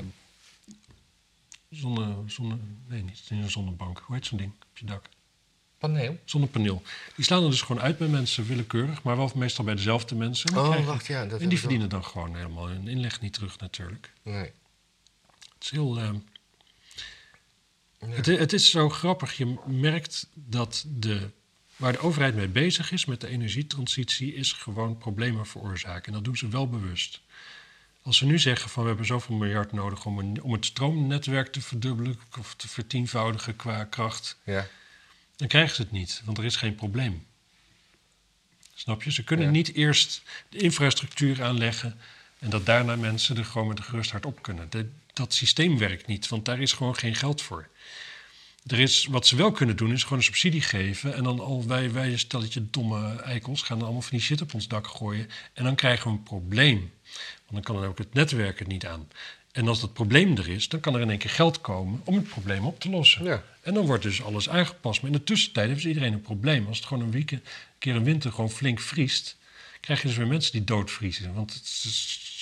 B: zonne, zonne, nee, niet in een zonnebank. Hoe heet zo'n ding op je dak?
A: Paneel.
B: Zonnepaneel. Die slaan er dus gewoon uit bij mensen, willekeurig, maar wel meestal bij dezelfde mensen. En, dan
A: Oh,
B: krijg je-
A: wacht, ja. Dat
B: en
A: heb
B: die
A: ik wel.
B: verdienen dan gewoon helemaal hun inleg niet terug natuurlijk.
A: Nee.
B: Het is heel. eh,
A: Ja.
B: het, het is zo grappig. Je merkt dat de, waar de overheid mee bezig is met de energietransitie, is gewoon problemen veroorzaken. En dat doen ze wel bewust. Als ze nu zeggen van we hebben zoveel miljard nodig om, een- om het stroomnetwerk te verdubbelen of te vertienvoudigen qua kracht,
A: Ja.
B: dan krijgen ze het niet, want er is geen probleem. Snap je? Ze kunnen
A: Ja.
B: niet eerst de infrastructuur aanleggen en dat daarna mensen er gewoon met een gerust hart op kunnen. De- dat systeem werkt niet, want daar is gewoon geen geld voor. Er is, wat ze wel kunnen doen, is gewoon een subsidie geven. En dan al wij, wij een stelletje domme eikels gaan dan allemaal van die shit op ons dak gooien. En dan krijgen we een probleem. Want dan kan dan ook het netwerk het niet aan. En als dat probleem er is, dan kan er in één keer geld komen om het probleem op te lossen.
A: Ja.
B: En dan wordt dus alles aangepast. Maar in de tussentijd heeft dus iedereen een probleem. Als het gewoon een weekend, een keer een winter gewoon flink vriest, krijg je dus weer mensen die doodvriezen. Want het- ze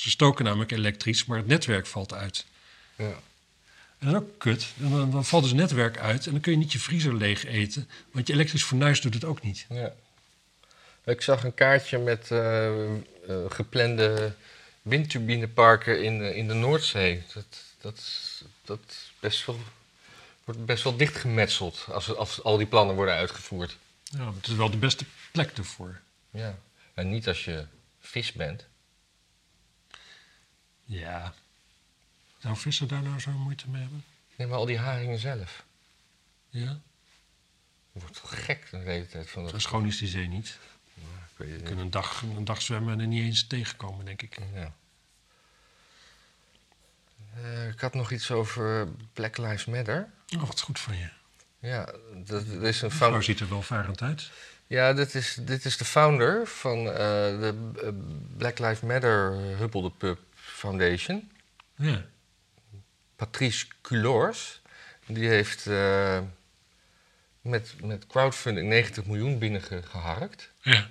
B: ze stoken namelijk elektrisch, maar het netwerk valt uit.
A: Ja.
B: En dat is ook kut. En dan, dan valt dus het netwerk uit en dan kun je niet je vriezer leeg eten. Want je elektrisch fornuis doet het ook niet.
A: Ja. Ik zag een kaartje met eh, eh, geplande windturbineparken in, de- in de Noordzee. Dat, dat, is- dat is best wel, wordt best wel dichtgemetseld als, als al die plannen worden uitgevoerd.
B: Ja, het is wel de beste plek ervoor.
A: Ja. En niet als je vis bent.
B: Ja. Zou vissen daar nou zo'n moeite mee hebben?
A: Nee, maar al die haringen zelf.
B: Ja.
A: Je wordt toch gek de hele tijd van dat.
B: Zo schoon is die zee niet.
A: Ik weet
B: We
A: het niet.
B: kunnen een dag, een dag zwemmen en er niet eens tegenkomen, denk ik.
A: Ja. Eh, ik had nog iets over Black Lives Matter.
B: Oh, wat goed van je.
A: Ja, dat, dat is een
B: Vrouw
A: fout.
B: ziet er welvarend uit.
A: Ja, dit is, dit is de founder van eh, de eh, Black Lives Matter Huppel de Pub Foundation.
B: Ja.
A: Patrice Cullors. Die heeft eh, met, met crowdfunding 90 miljoen binnengeharkt.
B: Ja.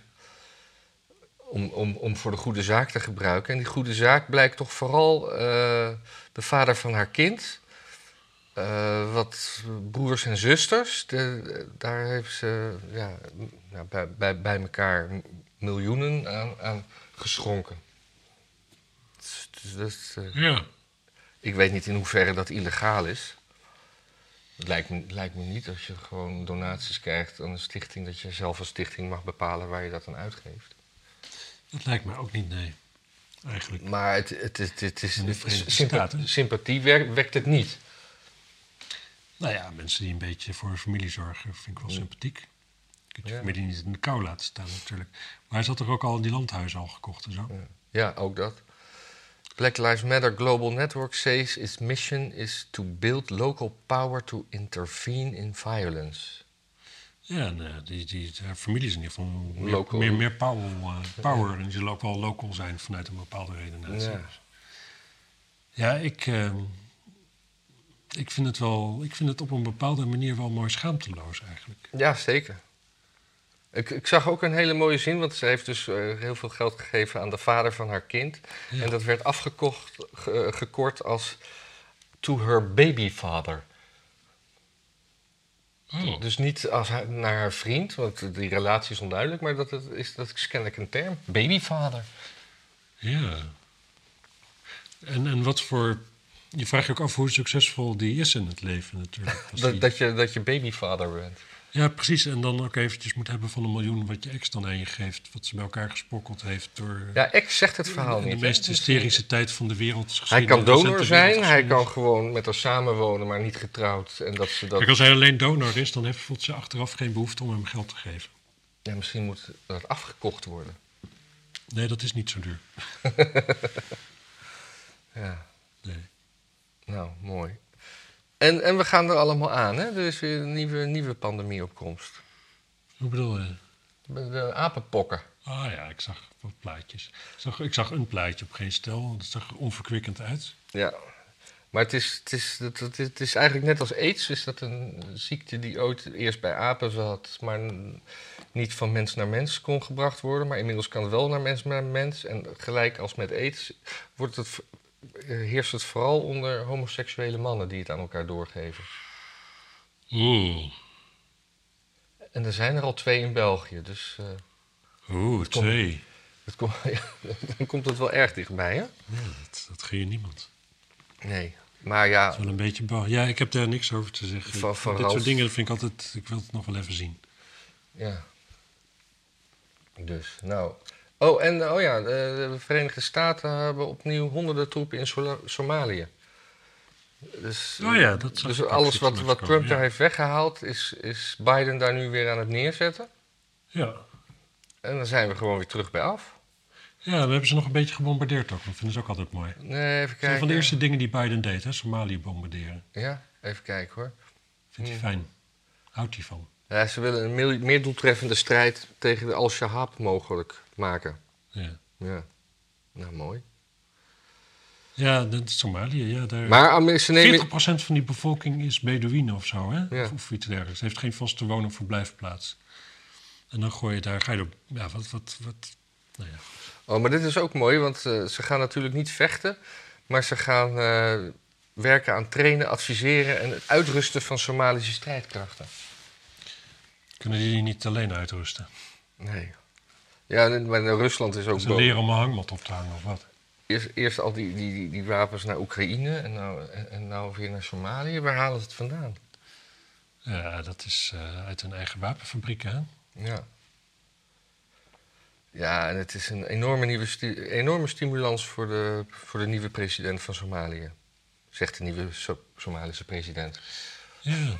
A: Om, om, om voor de goede zaak te gebruiken. En die goede zaak blijkt toch vooral eh, de vader van haar kind. eh, wat broers en zusters. De- daar heeft ze ja, m- nou, bij, bij, bij elkaar m- miljoenen aan, aan geschonken. Dus, dus dat is, eh,
B: Ja.
A: ik weet niet in hoeverre dat illegaal is. Het lijkt me, lijkt me niet als je gewoon donaties krijgt aan een stichting... dat je zelf als stichting mag bepalen waar je dat aan uitgeeft.
B: Dat lijkt mij ook niet, nee. Eigenlijk.
A: Maar het, het, het, het is
B: In de Verenigde
A: sympa-
B: Staten.
A: sympathie wer- wekt het niet.
B: Nou ja, mensen die een beetje voor hun familie zorgen, vind ik wel sympathiek. Je kunt je
A: Ja.
B: familie niet in de kou laten staan natuurlijk. Maar hij zat toch ook al die landhuizen al gekocht en zo?
A: Ja, ook dat. Black Lives Matter Global Network says its mission is to build local power to intervene in violence.
B: Ja, en, eh, die, die, haar familie is in ieder geval meer,
A: Local.
B: meer, meer power, eh, power. En die zullen ook wel local zijn vanuit een bepaalde redenatie.
A: Ja.
B: Ja, ik, eh, ik, vind het wel, ik vind het op een bepaalde manier wel mooi schaamteloos eigenlijk.
A: Ja, zeker. Ik, ik zag ook een hele mooie zin, want ze heeft dus eh, heel veel geld gegeven aan de vader van haar kind.
B: Ja.
A: En dat werd afgekocht, ge- gekort als to her baby father.
B: Hmm.
A: Dus niet als haar- naar haar vriend, want die relatie is onduidelijk, maar dat, het is, dat is kennelijk een term. Babyvader.
B: Ja. En, en wat
A: [laughs]
B: voor... Je vraagt je ook af hoe succesvol die is in het leven natuurlijk. Als die-
A: Dat, dat, je, dat je babyvader bent.
B: Ja, precies. En dan ook eventjes moet hebben van een miljoen wat je ex dan aan je geeft. Wat ze bij elkaar gesprokkeld heeft door eh,
A: Ja, ex zegt het verhaal
B: in
A: niet.
B: de
A: hè? Dus, eh,
B: meest hysterische tijd van de wereld.
A: Hij kan donor zijn, hij kan gewoon met haar samenwonen, maar niet getrouwd. En dat ze dat...
B: Kijk, als hij alleen donor is, dan heeft, voelt ze achteraf geen behoefte om hem geld te geven.
A: Ja, misschien moet dat afgekocht worden.
B: Nee, dat is niet zo duur.
A: Ja,
B: Nee.
A: nou, mooi. En, en we gaan er allemaal aan, hè? Er is weer een nieuwe, nieuwe pandemie op komst.
B: Hoe bedoel je?
A: De- De apenpokken.
B: Ah ja, ik zag wat plaatjes. Ik zag, ik zag een plaatje op geen stel, want het zag er onverkwikkend uit.
A: Ja. Maar het is, het, is, het, het, het is eigenlijk net als aids, is dat een ziekte die ooit eerst bij apen zat, maar n- niet van mens naar mens kon gebracht worden. Maar inmiddels kan het wel naar mens naar mens. En gelijk als met aids wordt het, v- eh, heerst het vooral onder homoseksuele mannen die het aan elkaar doorgeven.
B: Oeh,
A: En er zijn er al twee in België, dus eh,
B: oeh,
A: komt-
B: twee.
A: het kom- ja, [laughs] dan komt het wel erg dichtbij, hè?
B: Ja, dat, dat gun je niemand.
A: Nee. Maar ja,
B: Dat is wel een beetje bar. Ja, ik heb daar niks over te zeggen.
A: Van- van
B: Dit
A: Ralf.
B: soort dingen vind ik altijd... Ik wil het nog wel even zien.
A: Ja. Dus, nou. Oh, en oh ja, de, de Verenigde Staten hebben opnieuw honderden troepen in Sola- Somalië. Dus,
B: Oh ja, dat zag
A: dus
B: ik ook
A: alles
B: iets
A: wat, wat
B: langskomen,
A: Trump
B: ja.
A: daar heeft weggehaald, is, is Biden daar nu weer aan het neerzetten.
B: Ja.
A: En dan zijn we gewoon weer terug bij af.
B: Ja, we hebben ze nog een beetje gebombardeerd ook. Dat vinden ze ook altijd mooi. Dat
A: Nee, even
B: is een
A: kijken.
B: van de eerste dingen die Biden deed, hè. Somalië bombarderen.
A: Ja, even kijken hoor.
B: Vindt hij fijn. Houdt hij van.
A: Ja, ze willen een mil- meer doeltreffende strijd tegen de Al-Shabaab mogelijk maken.
B: Ja,
A: Ja, nou mooi.
B: ja dat is Somalië. Ja, daar...
A: Maar Amer- ze nemen...
B: 40% van die bevolking is Bedouinen of zo, hè?
A: Ja.
B: Of, of iets dergelijks. Heeft geen vaste woon- of verblijfplaats. En dan gooi je daar, ga je er, ja, wat, wat, wat, nou ja.
A: Oh, maar dit is ook mooi, want eh, ze gaan natuurlijk niet vechten, maar ze gaan eh, werken aan trainen, adviseren en het uitrusten van Somalische strijdkrachten.
B: Kunnen die niet alleen uitrusten?
A: Nee. Ja, en- maar nou, Rusland is ook
B: Ze
A: boos.
B: leren om een hangmat op te hangen of wat?
A: Eerst, eerst al die, die, die, die wapens naar Oekraïne en nou, en, en nou weer naar Somalië. Waar halen ze het vandaan?
B: Ja, dat is eh, uit hun eigen wapenfabriek, hè?
A: Ja. Ja, en het is een enorme, nieuwe stu- enorme stimulans voor de, voor de nieuwe president van Somalië. Zegt de nieuwe So- Somalische president.
B: Ja. Er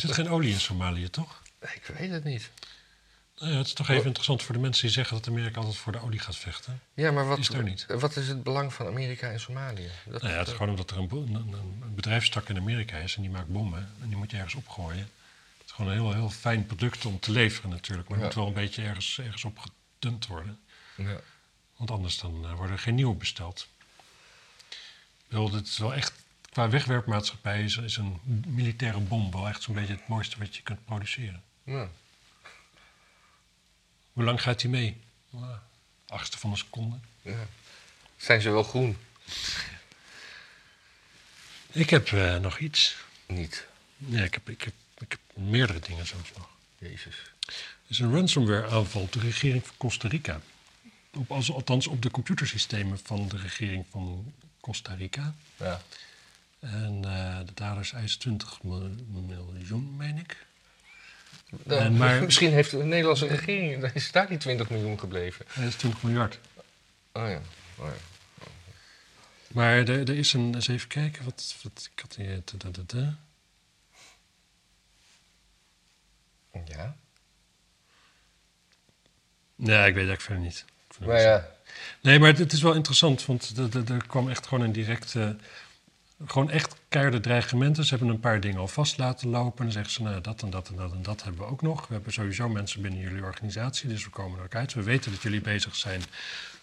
B: zit geen olie in Somalië, toch?
A: Ik weet het niet.
B: Nou ja, het is toch even interessant voor de mensen die zeggen dat Amerika altijd voor de olie gaat vechten.
A: Ja, maar wat
B: Is er niet.
A: wat is het belang van Amerika en Somalië? Dat,
B: Nou ja, het is
A: eh,
B: gewoon omdat er een, bo- een, een bedrijfstak in Amerika is en die maakt bommen en die moet je ergens opgooien. Het is gewoon een heel, heel fijn product om te leveren natuurlijk, maar het
A: Ja.
B: moet wel een beetje ergens, ergens op gedumpt worden.
A: ja.
B: Want anders dan eh, worden er geen nieuwe besteld. Ik bedoel, dit is wel echt, qua wegwerpmaatschappij is, is een militaire bom wel echt zo'n beetje het mooiste wat je kunt produceren.
A: Ja.
B: Hoe lang gaat die mee? Nou, achtste van een seconde.
A: ja. Zijn ze wel groen?
B: Ik heb eh, nog iets.
A: Niet.
B: Nee, ik heb, ik, heb, ik heb meerdere dingen zelfs nog.
A: Jezus.
B: Er is een ransomware aanval op de regering van Costa Rica. Op, als- althans op de computersystemen van de regering van Costa Rica.
A: Ja.
B: En eh, de daders eisen 20 mil- miljoen, meen ik.
A: Dan-
B: En
A: [laughs]
B: maar-
A: Misschien heeft de Nederlandse regering dan is daar die 20 miljoen gebleven.
B: Dat Eh, is 20 miljard.
A: Oh ja. Oh ja.
B: Maar er, er is een, eens even kijken, wat, wat ik had hier... da, da, da, da.
A: Ja.
B: Nee, ik weet het eigenlijk verder niet. Ik vind het
A: Maar ja.
B: Nee, maar het is wel interessant, want de- de- de- er kwam echt gewoon een directe... Gewoon echt keiharde dreigementen. Ze hebben een paar dingen al vast laten lopen. En dan zeggen ze, nou, dat en dat en dat en dat hebben we ook nog. We hebben sowieso mensen binnen jullie organisatie, dus we komen er ook uit. We weten dat jullie bezig zijn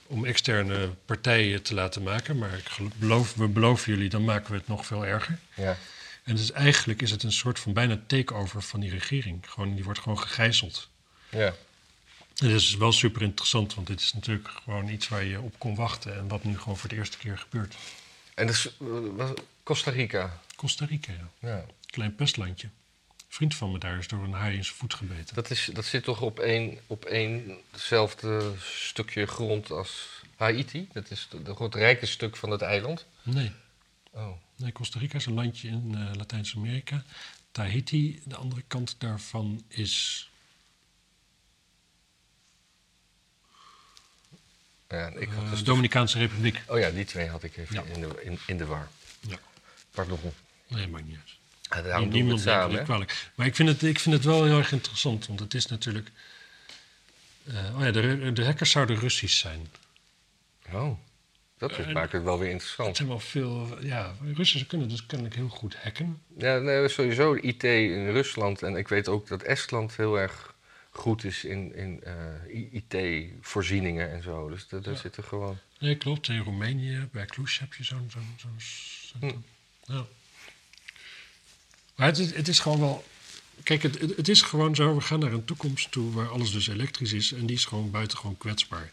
B: om externe partijen te laten maken. Maar ik gelo- beloof, we beloven jullie, dan maken we het nog veel erger.
A: ja.
B: En dus eigenlijk is het een soort van bijna takeover van die regering. Gewoon, die wordt gewoon gegijzeld.
A: Ja.
B: En dat is wel super interessant, want dit is natuurlijk gewoon iets waar je op kon wachten en wat nu gewoon voor de eerste keer gebeurt.
A: En dat is eh, was Costa Rica.
B: Costa Rica, ja.
A: Ja.
B: Klein pestlandje. Een vriend van me daar is door een haai in zijn voet gebeten.
A: Dat, is, dat zit toch op één, op één hetzelfde stukje grond als Haiti? Dat is de- de- het rijke stuk van het eiland.
B: Nee,
A: Oh.
B: nee Costa Rica is een landje in eh, Latijns-Amerika. Tahiti. De andere kant daarvan is.
A: Ja, ik had
B: eh,
A: dus-
B: de Dominicaanse Republiek.
A: Oh ja, die twee had ik even
B: Ja.
A: in, de, in, in de war.
B: Ja.
A: Pardon.
B: Nee, maakt niet uit.
A: En daarom doen we
B: Niemand
A: het
B: neemt het
A: samen. hè?
B: kwalijk. Maar ik vind, het, ik vind het wel heel erg interessant, want het is natuurlijk. eh, oh ja, de, Ru- de hackers zouden Russisch zijn.
A: Oh, dat is-
B: Eh,
A: maakt het wel weer
B: Het
A: interessant.
B: zijn wel veel. Ja, Russen kunnen dus kennelijk heel goed hacken.
A: Ja, nee, sowieso de IT in Rusland. En ik weet ook dat Estland heel erg goed is in, in eh, IT-voorzieningen en zo. Dus dat, daar
B: Ja.
A: zitten gewoon...
B: Nee, klopt. In Roemenië, bij Cluj heb je zo'n... zo'n zo'n centrum. Ja. Maar het, is- het is gewoon wel... Kijk, het, het het is gewoon zo, we gaan naar een toekomst toe waar alles dus elektrisch is en die is gewoon buitengewoon kwetsbaar.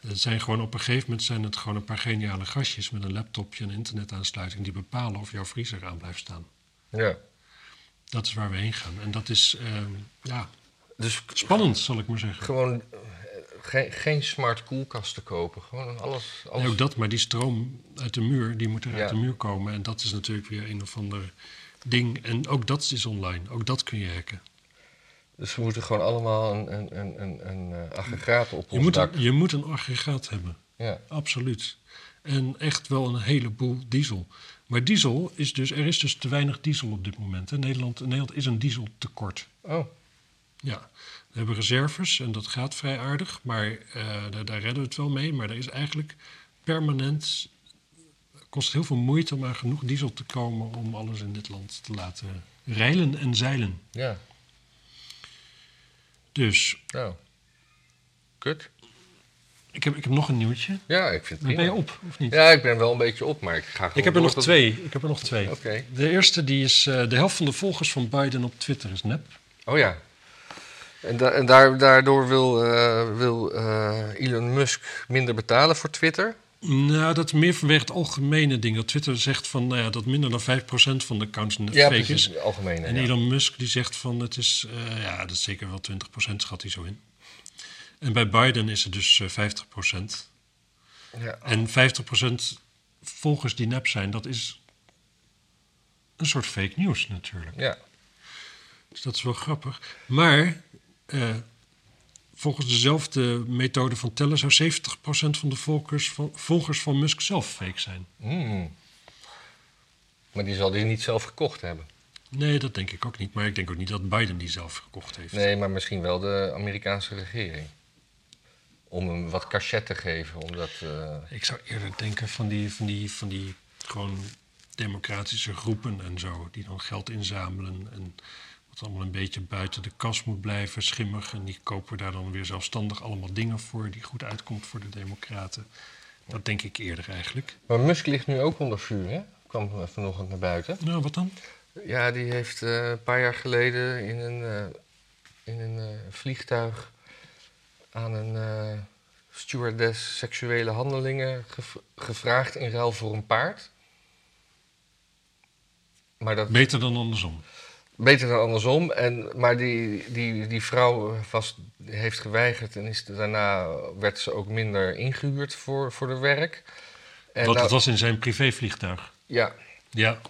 B: Het zijn gewoon, op een gegeven moment zijn het gewoon een paar geniale gastjes met een laptopje en internetaansluiting die bepalen of jouw vriezer aan blijft staan.
A: Ja.
B: Dat is waar we heen gaan. En dat is, ehm, ja,
A: Dus
B: spannend zal ik maar zeggen.
A: gewoon eh, geen, geen smart koelkast te kopen. Gewoon alles... alles
B: Nee, ook dat, maar die stroom uit de muur, die moet er uit
A: Ja.
B: de muur komen. En dat is natuurlijk weer een of ander ding. En ook dat is online. Ook dat kun je hacken.
A: Dus we moeten gewoon allemaal een, een, een, een, een eh, aggregaat op
B: Je
A: ons
B: moet,
A: dak.
B: een, je moet een aggregaat hebben,
A: Ja.
B: absoluut. En echt wel een heleboel diesel. Maar diesel is dus, er is dus te weinig diesel op dit moment. hè. Nederland, in Nederland is een dieseltekort.
A: Oh,
B: Ja, we hebben reserves en dat gaat vrij aardig, maar eh, daar, daar redden we het wel mee. Maar er is eigenlijk permanent, kost het heel veel moeite om aan genoeg diesel te komen om alles in dit land te laten reilen en zeilen.
A: ja.
B: Dus,
A: Nou. Kut.
B: ik heb, ik heb nog een nieuwtje.
A: Ja, ik vind het
B: Ben
A: prima.
B: je op, of niet?
A: Ja, ik ben wel een beetje op, maar ik ga gewoon
B: Ik heb er
A: door
B: nog
A: tot-
B: twee. Ik heb er nog twee.
A: Oké.
B: De eerste die is, eh, de helft van de volgers van Biden op Twitter is nep.
A: Oh ja. En, da- en daar, daardoor wil, eh, wil eh, Elon Musk minder betalen voor Twitter.
B: Nou, dat is meer vanwege het algemene ding. Dat Twitter zegt van, nou ja, dat minder dan 5% van de accounts nep fake is.
A: in het algemeen.
B: En
A: ja.
B: Elon Musk die zegt van het is, eh, ja, dat is zeker wel 20% schat hij zo in. En bij Biden is het dus eh, 50%.
A: Ja.
B: En 50% volgers die nep zijn, dat is een soort fake news natuurlijk.
A: ja.
B: Dus dat is wel grappig. Maar eh, volgens dezelfde methode van tellen zou 70% van de volgers van, volgers van Musk zelf fake zijn.
A: Hmm. Maar die zal die niet zelf gekocht hebben.
B: Nee, dat denk ik ook niet. Maar ik denk ook niet dat Biden die zelf gekocht heeft.
A: Nee, maar misschien wel de Amerikaanse regering. Om hem wat cachet te geven, omdat... eh,
B: Ik zou eerder denken van die, van die, van die gewoon democratische groepen en zo, die dan geld inzamelen en wat allemaal een beetje buiten de kas moet blijven, schimmig. En die kopen daar dan weer zelfstandig allemaal dingen voor die goed uitkomt voor de democraten. Dat denk ik eerder eigenlijk.
A: Maar Musk ligt nu ook onder vuur, hè? Kwam vanochtend naar buiten.
B: Nou, wat dan?
A: Ja, die heeft eh, een paar jaar geleden in een, eh, in een eh, vliegtuig aan een eh, stewardess seksuele handelingen gev- gevraagd in ruil voor een paard. Maar dat
B: Beter dan andersom.
A: beter dan andersom. En, maar die, die, die vrouw was, heeft geweigerd en is, daarna werd ze ook minder ingehuurd voor, voor de werk. En
B: Want
A: nou-
B: het was in zijn privévliegtuig.
A: Ja,
B: Ja,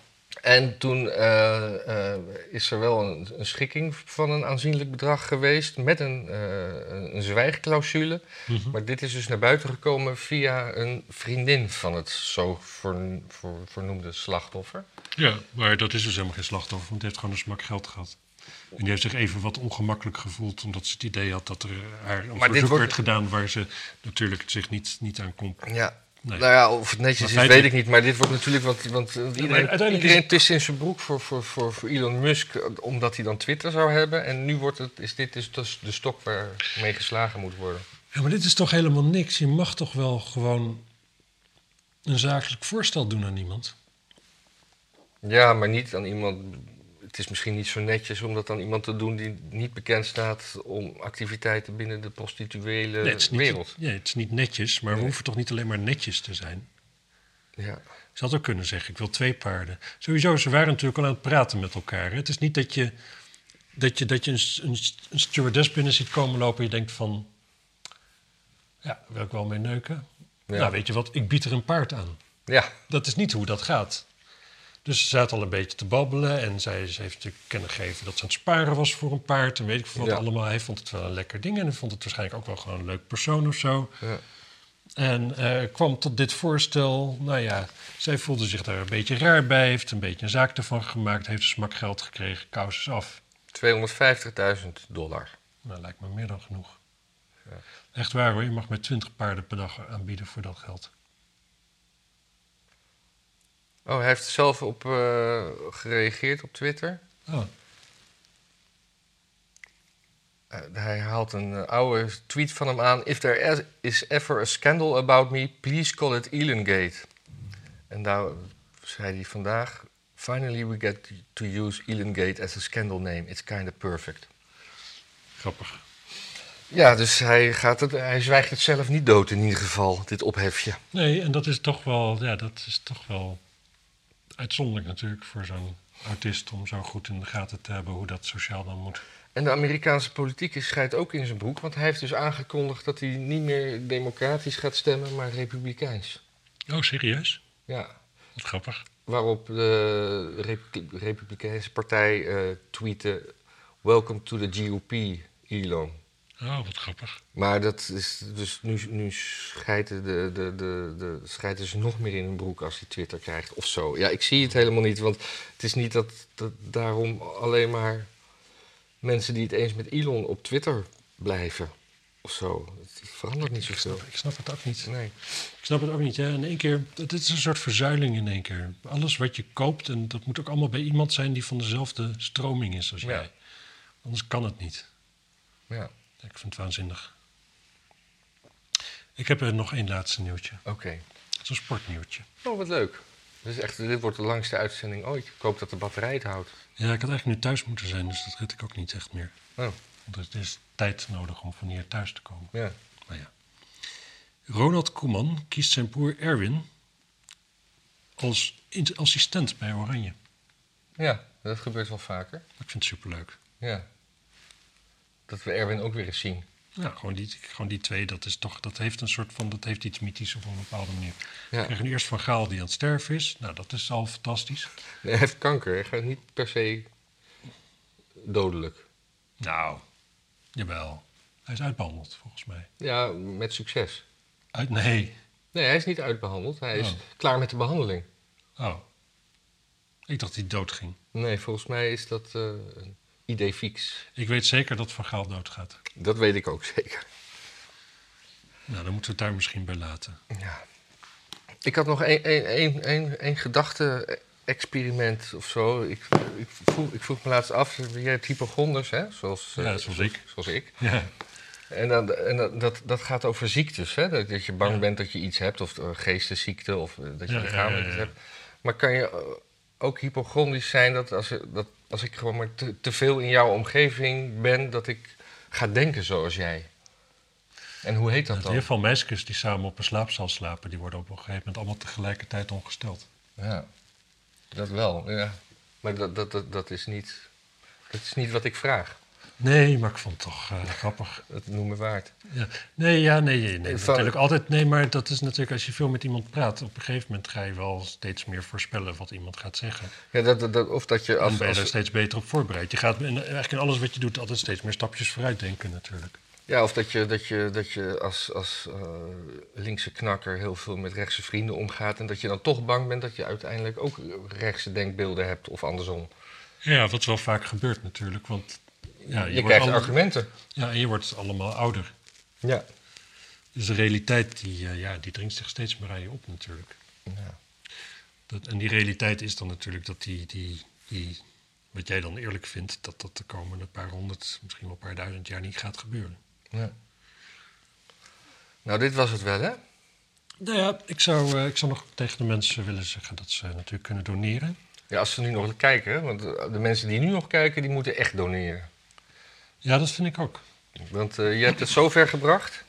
A: En toen eh, eh, is er wel een, een schikking van een aanzienlijk bedrag geweest met een, eh, een zwijgclausule.
B: Mhm.
A: Maar dit is dus naar buiten gekomen via een vriendin van het zo voorn- voor, vernoemde slachtoffer.
B: ja, maar dat is dus helemaal geen slachtoffer, want hij heeft gewoon een smak geld gehad. En die heeft zich even wat ongemakkelijk gevoeld, omdat ze het idee had dat er haar een
A: dit
B: verzoek
A: wordt-
B: werd gedaan waar ze natuurlijk zich niet, niet aan kon.
A: Ja.
B: Nee.
A: Nou ja, of het netjes
B: Maar
A: is, weet ik
B: feitelijk-
A: niet. Maar dit wordt natuurlijk, want, want iedereen,
B: uiteindelijk is
A: iedereen
B: het-
A: pist in zijn broek voor, voor, voor, voor Elon Musk, eh, omdat hij dan Twitter zou hebben. En nu wordt het, is dit dus, dus de stok waarmee geslagen moet worden.
B: Ja, maar dit is toch helemaal niks. Je mag toch wel gewoon een zakelijk voorstel doen aan iemand.
A: Ja, maar niet aan iemand. Het is misschien niet zo netjes om dat aan iemand te doen die niet bekend staat om activiteiten binnen de prostituele
B: Nee, het is niet,
A: wereld.
B: Nee, het is niet netjes, maar we
A: Nee.
B: hoeven toch niet alleen maar netjes te zijn.
A: Ja.
B: Ze had ook kunnen zeggen, ik wil twee paarden. Sowieso, ze waren natuurlijk al aan het praten met elkaar. hè. Het is niet dat je, dat je, dat je een, s- een, s- een stewardess binnen ziet komen lopen... en je denkt van, ja, wil ik wel mee neuken?
A: Ja.
B: Nou, weet je wat, ik bied er een paard aan.
A: ja,
B: Dat is niet hoe dat gaat. Dus ze zaten al een beetje te babbelen. En zij, ze heeft natuurlijk kennen gegeven dat ze aan het sparen was voor een paard. En weet ik veel wat
A: Ja.
B: allemaal. Hij vond het wel een lekker ding. En hij vond het waarschijnlijk ook wel gewoon een leuk persoon of zo.
A: Ja.
B: En eh, kwam tot dit voorstel. Nou ja, zij voelde zich daar een beetje raar bij. Heeft een beetje een zaak ervan gemaakt. Heeft een smak geld gekregen. Kous is af.
A: 250.000 dollar.
B: Nou, lijkt me meer dan genoeg. Echt waar hoor. Je mag maar 20 paarden per dag aanbieden voor dat geld.
A: Oh, hij heeft zelf op eh, gereageerd op Twitter.
B: Oh,
A: Eh, hij haalt een eh, oude tweet van hem aan. If there is- is ever a scandal about me, please call it Elongate. En daar zei hij vandaag... Finally we get to use Elongate as a scandal name. It's kind of perfect.
B: grappig.
A: Ja, dus hij, gaat het, hij zwijgt het zelf niet dood in ieder geval, dit ophefje.
B: Nee, en dat is toch wel, ja, dat is toch wel uitzonderlijk natuurlijk voor zo'n autist om zo goed in de gaten te hebben hoe dat sociaal dan moet.
A: En de Amerikaanse politiek is schijt ook in zijn broek... want hij heeft dus aangekondigd dat hij niet meer democratisch gaat stemmen... maar republikeins.
B: Oh, serieus?
A: Ja,
B: Wat grappig.
A: Waarop de Repu- Republikeinse Partij eh, tweette: Welcome to the GOP, Elon.
B: Oh, wat grappig.
A: Maar dat is dus nu, nu schijten, de, de, de, de, schijten ze nog meer in hun broek als hij Twitter krijgt of zo. Ja, ik zie het helemaal niet, want het is niet dat, dat daarom alleen maar mensen die het eens met Elon op Twitter blijven of zo. Het verandert niet
B: Ik
A: zoveel.
B: snap, ik snap het ook niet.
A: Nee.
B: Ik snap het ook niet. Hè? In één keer, het is een soort verzuiling in één keer. Alles wat je koopt, en dat moet ook allemaal bij iemand zijn die van dezelfde stroming is als
A: Ja.
B: jij. Anders kan het niet.
A: Ja,
B: Ik vind het waanzinnig. Ik heb er nog één laatste nieuwtje.
A: oké.
B: Het is een sportnieuwtje.
A: Oh, wat leuk. Dit, is echt, dit wordt de langste uitzending ooit. Ik hoop dat de batterij het houdt.
B: Ja, ik had eigenlijk nu thuis moeten zijn, dus dat red ik ook niet echt meer.
A: Oh,
B: Want het is tijd nodig om van hier thuis te komen.
A: ja.
B: Maar ja. Ronald Koeman kiest zijn broer Erwin als in- assistent bij Oranje.
A: Ja, dat gebeurt wel vaker.
B: Ik vind het superleuk.
A: Ja. Dat we Erwin ook weer eens zien.
B: Ja, gewoon die, gewoon die twee, dat is toch, dat heeft een soort van, dat heeft iets mythisch op een bepaalde manier.
A: Ja.
B: We krijgen nu eerst Van Gaal die aan het sterven is. Nou, dat is al fantastisch.
A: Nee, hij heeft kanker. Hij gaat niet per se dodelijk.
B: Nou, jawel. Hij is uitbehandeld, volgens mij.
A: Ja, met succes.
B: Uit, nee.
A: Nee, hij is niet uitbehandeld. Hij is
B: Oh.
A: klaar met de behandeling.
B: Oh. Ik dacht dat hij dood ging.
A: Nee, volgens mij is dat eh, een idee fix.
B: Ik weet zeker dat Van Gaal doodgaat.
A: Dat weet ik ook zeker.
B: Nou, dan moeten we het daar misschien bij laten.
A: Ja. Ik had nog één één- één- één- één gedachte-experiment of zo. Ik, ik, vroeg, ik vroeg me laatst af, jij hebt hypochonders, hè? Zoals, eh,
B: Ja, zoals ik.
A: Zoals ik.
B: Ja.
A: En, dan, en dat- dat, dat gaat over ziektes, hè? Dat, dat je bang
B: Ja.
A: bent dat je iets hebt, of eh, geestesziekte, of eh, dat je
B: Ja, ja,
A: lichamelijk
B: ja,
A: iets
B: ja.
A: hebt. Maar kan je eh, ook hypochondisch zijn dat als, er- dat als ik gewoon maar te, te veel in jouw omgeving ben, dat ik ga denken zoals jij? En hoe heet dat
B: In
A: dan?
B: ieder geval meisjes die samen op een slaapzaal slapen, die worden op een gegeven moment allemaal tegelijkertijd ongesteld.
A: Ja, dat wel, ja. Maar dat, dat, dat, dat, is niet, dat is niet wat ik vraag.
B: Nee, maar ik vond het toch eh, grappig.
A: Dat noemen waard.
B: Ja. Nee, ja, nee, nee, nee.
A: Van-
B: Natuurlijk altijd. Nee, maar dat is natuurlijk als je veel met iemand praat, op een gegeven moment ga je wel steeds meer voorspellen wat iemand gaat zeggen.
A: Ja, dat, dat- dat- of dat je
B: Dan
A: als,
B: ben je er
A: als,
B: steeds beter op voorbereid. Je gaat in, eigenlijk in alles wat je doet altijd steeds meer stapjes vooruit denken natuurlijk.
A: Ja, of dat je, dat je, dat je als, als eh, linkse knakker heel veel met rechtse vrienden omgaat. En dat je dan toch bang bent dat je uiteindelijk ook rechtse denkbeelden hebt of andersom.
B: Ja, wat wel vaak gebeurt natuurlijk, want ja,
A: je
B: wordt
A: krijgt
B: allemaal-
A: argumenten.
B: ja, en je wordt allemaal ouder.
A: Ja.
B: Dus de realiteit die, eh, ja, die dringt zich steeds meer aan je op natuurlijk.
A: Ja.
B: Dat, en die realiteit is dan natuurlijk dat die, die, die, wat jij dan eerlijk vindt, dat dat de komende paar honderd, misschien wel een paar duizend jaar niet gaat gebeuren.
A: Ja. Nou, dit was het wel, hè?
B: Nou ja, ik zou, eh, ik zou nog tegen de mensen willen zeggen dat ze natuurlijk kunnen doneren.
A: Ja, als ze nu nog kijken, hè, want eh, de mensen die nu nog kijken, die moeten echt doneren.
B: Ja, dat vind ik ook.
A: Want eh, je hebt het zo ver gebracht.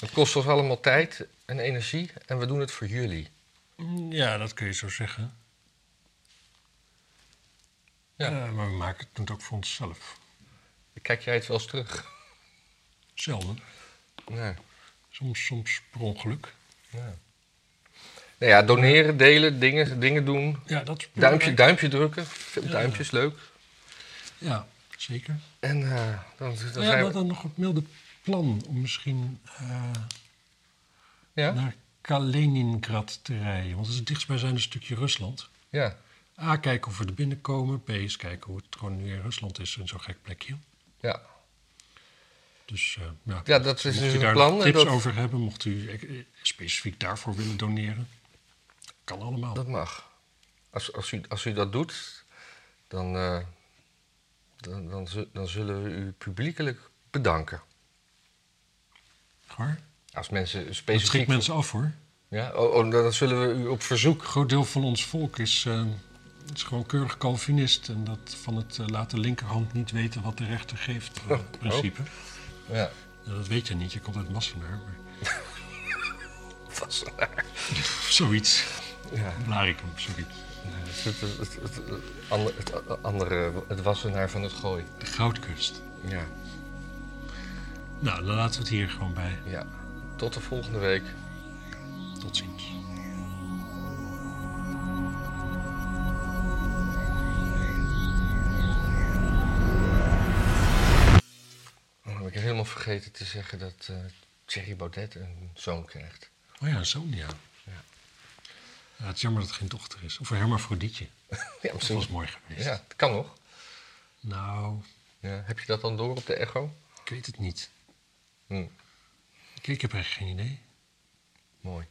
A: Het kost ons allemaal tijd en energie en we doen het voor jullie.
B: Mm, Ja, dat kun je zo zeggen. Ja,
A: Ja.
B: maar we maken het doen het ook voor onszelf.
A: Kijk jij het wel eens terug?
B: Zelden.
A: Ja.
B: Soms, soms per ongeluk.
A: Ja. Nou ja, doneren, delen, dingen, dingen doen.
B: Ja, dat is
A: Duimpje,
B: belangrijk.
A: duimpje drukken. Veel
B: Ja.
A: duimpjes, leuk.
B: Ja, zeker.
A: En eh, dan, dan
B: ja,
A: zijn we...
B: dat dan nog het milde plan om misschien eh,
A: Ja?
B: naar Kaliningrad te rijden. Want dat is het dichtstbijzijnde stukje Rusland.
A: Ja.
B: A, kijken of we er binnenkomen. B, is kijken hoe het gewoon nu in Rusland is in zo'n gek plekje.
A: Ja.
B: Dus eh, ja,
A: ja, dat is
B: mocht
A: dus
B: u
A: een
B: daar
A: plan.
B: nog
A: en
B: tips
A: dat,
B: over hebben, mocht u eh, specifiek daarvoor willen doneren. Kan allemaal.
A: dat mag. Als, als, u, als u dat doet, dan, eh, dan, dan, zu- dan zullen we u publiekelijk bedanken.
B: Hoor.
A: Als mensen
B: Dat schrikt
A: specifiek...
B: mensen af hoor.
A: Ja? Oh, oh, dan zullen we u op verzoek...
B: Een groot deel van ons volk is, eh, is gewoon keurig Calvinist. En dat van het eh, laat de linkerhand niet weten wat de rechter geeft eh,
A: Oh.
B: principe.
A: Ja.
B: Ja, dat weet je niet, je komt uit Massenaar. Maar
A: Vast.
B: zoiets.
A: Ja.
B: Blarikum, sorry.
A: Het, het, het, het, het, het ander- het andere, het wassenaar van het gooi.
B: De Goudkust.
A: Ja.
B: Nou, dan laten we het hier gewoon bij.
A: ja. Tot de volgende week.
B: Tot ziens.
A: Oh, dan heb ik helemaal vergeten te zeggen dat eh Thierry Baudet een zoon krijgt.
B: Oh ja, zo'n ja.
A: Ja.
B: Ja, Het is jammer dat het geen dochter is. Of een hermafrodietje.
A: Ja,
B: Dat
A: misschien.
B: was mooi geweest.
A: Ja, dat kan nog.
B: Nou,
A: Ja. Heb je dat dan door op de echo?
B: ik weet het niet.
A: Hm,
B: Ik, ik heb echt geen idee.
A: mooi.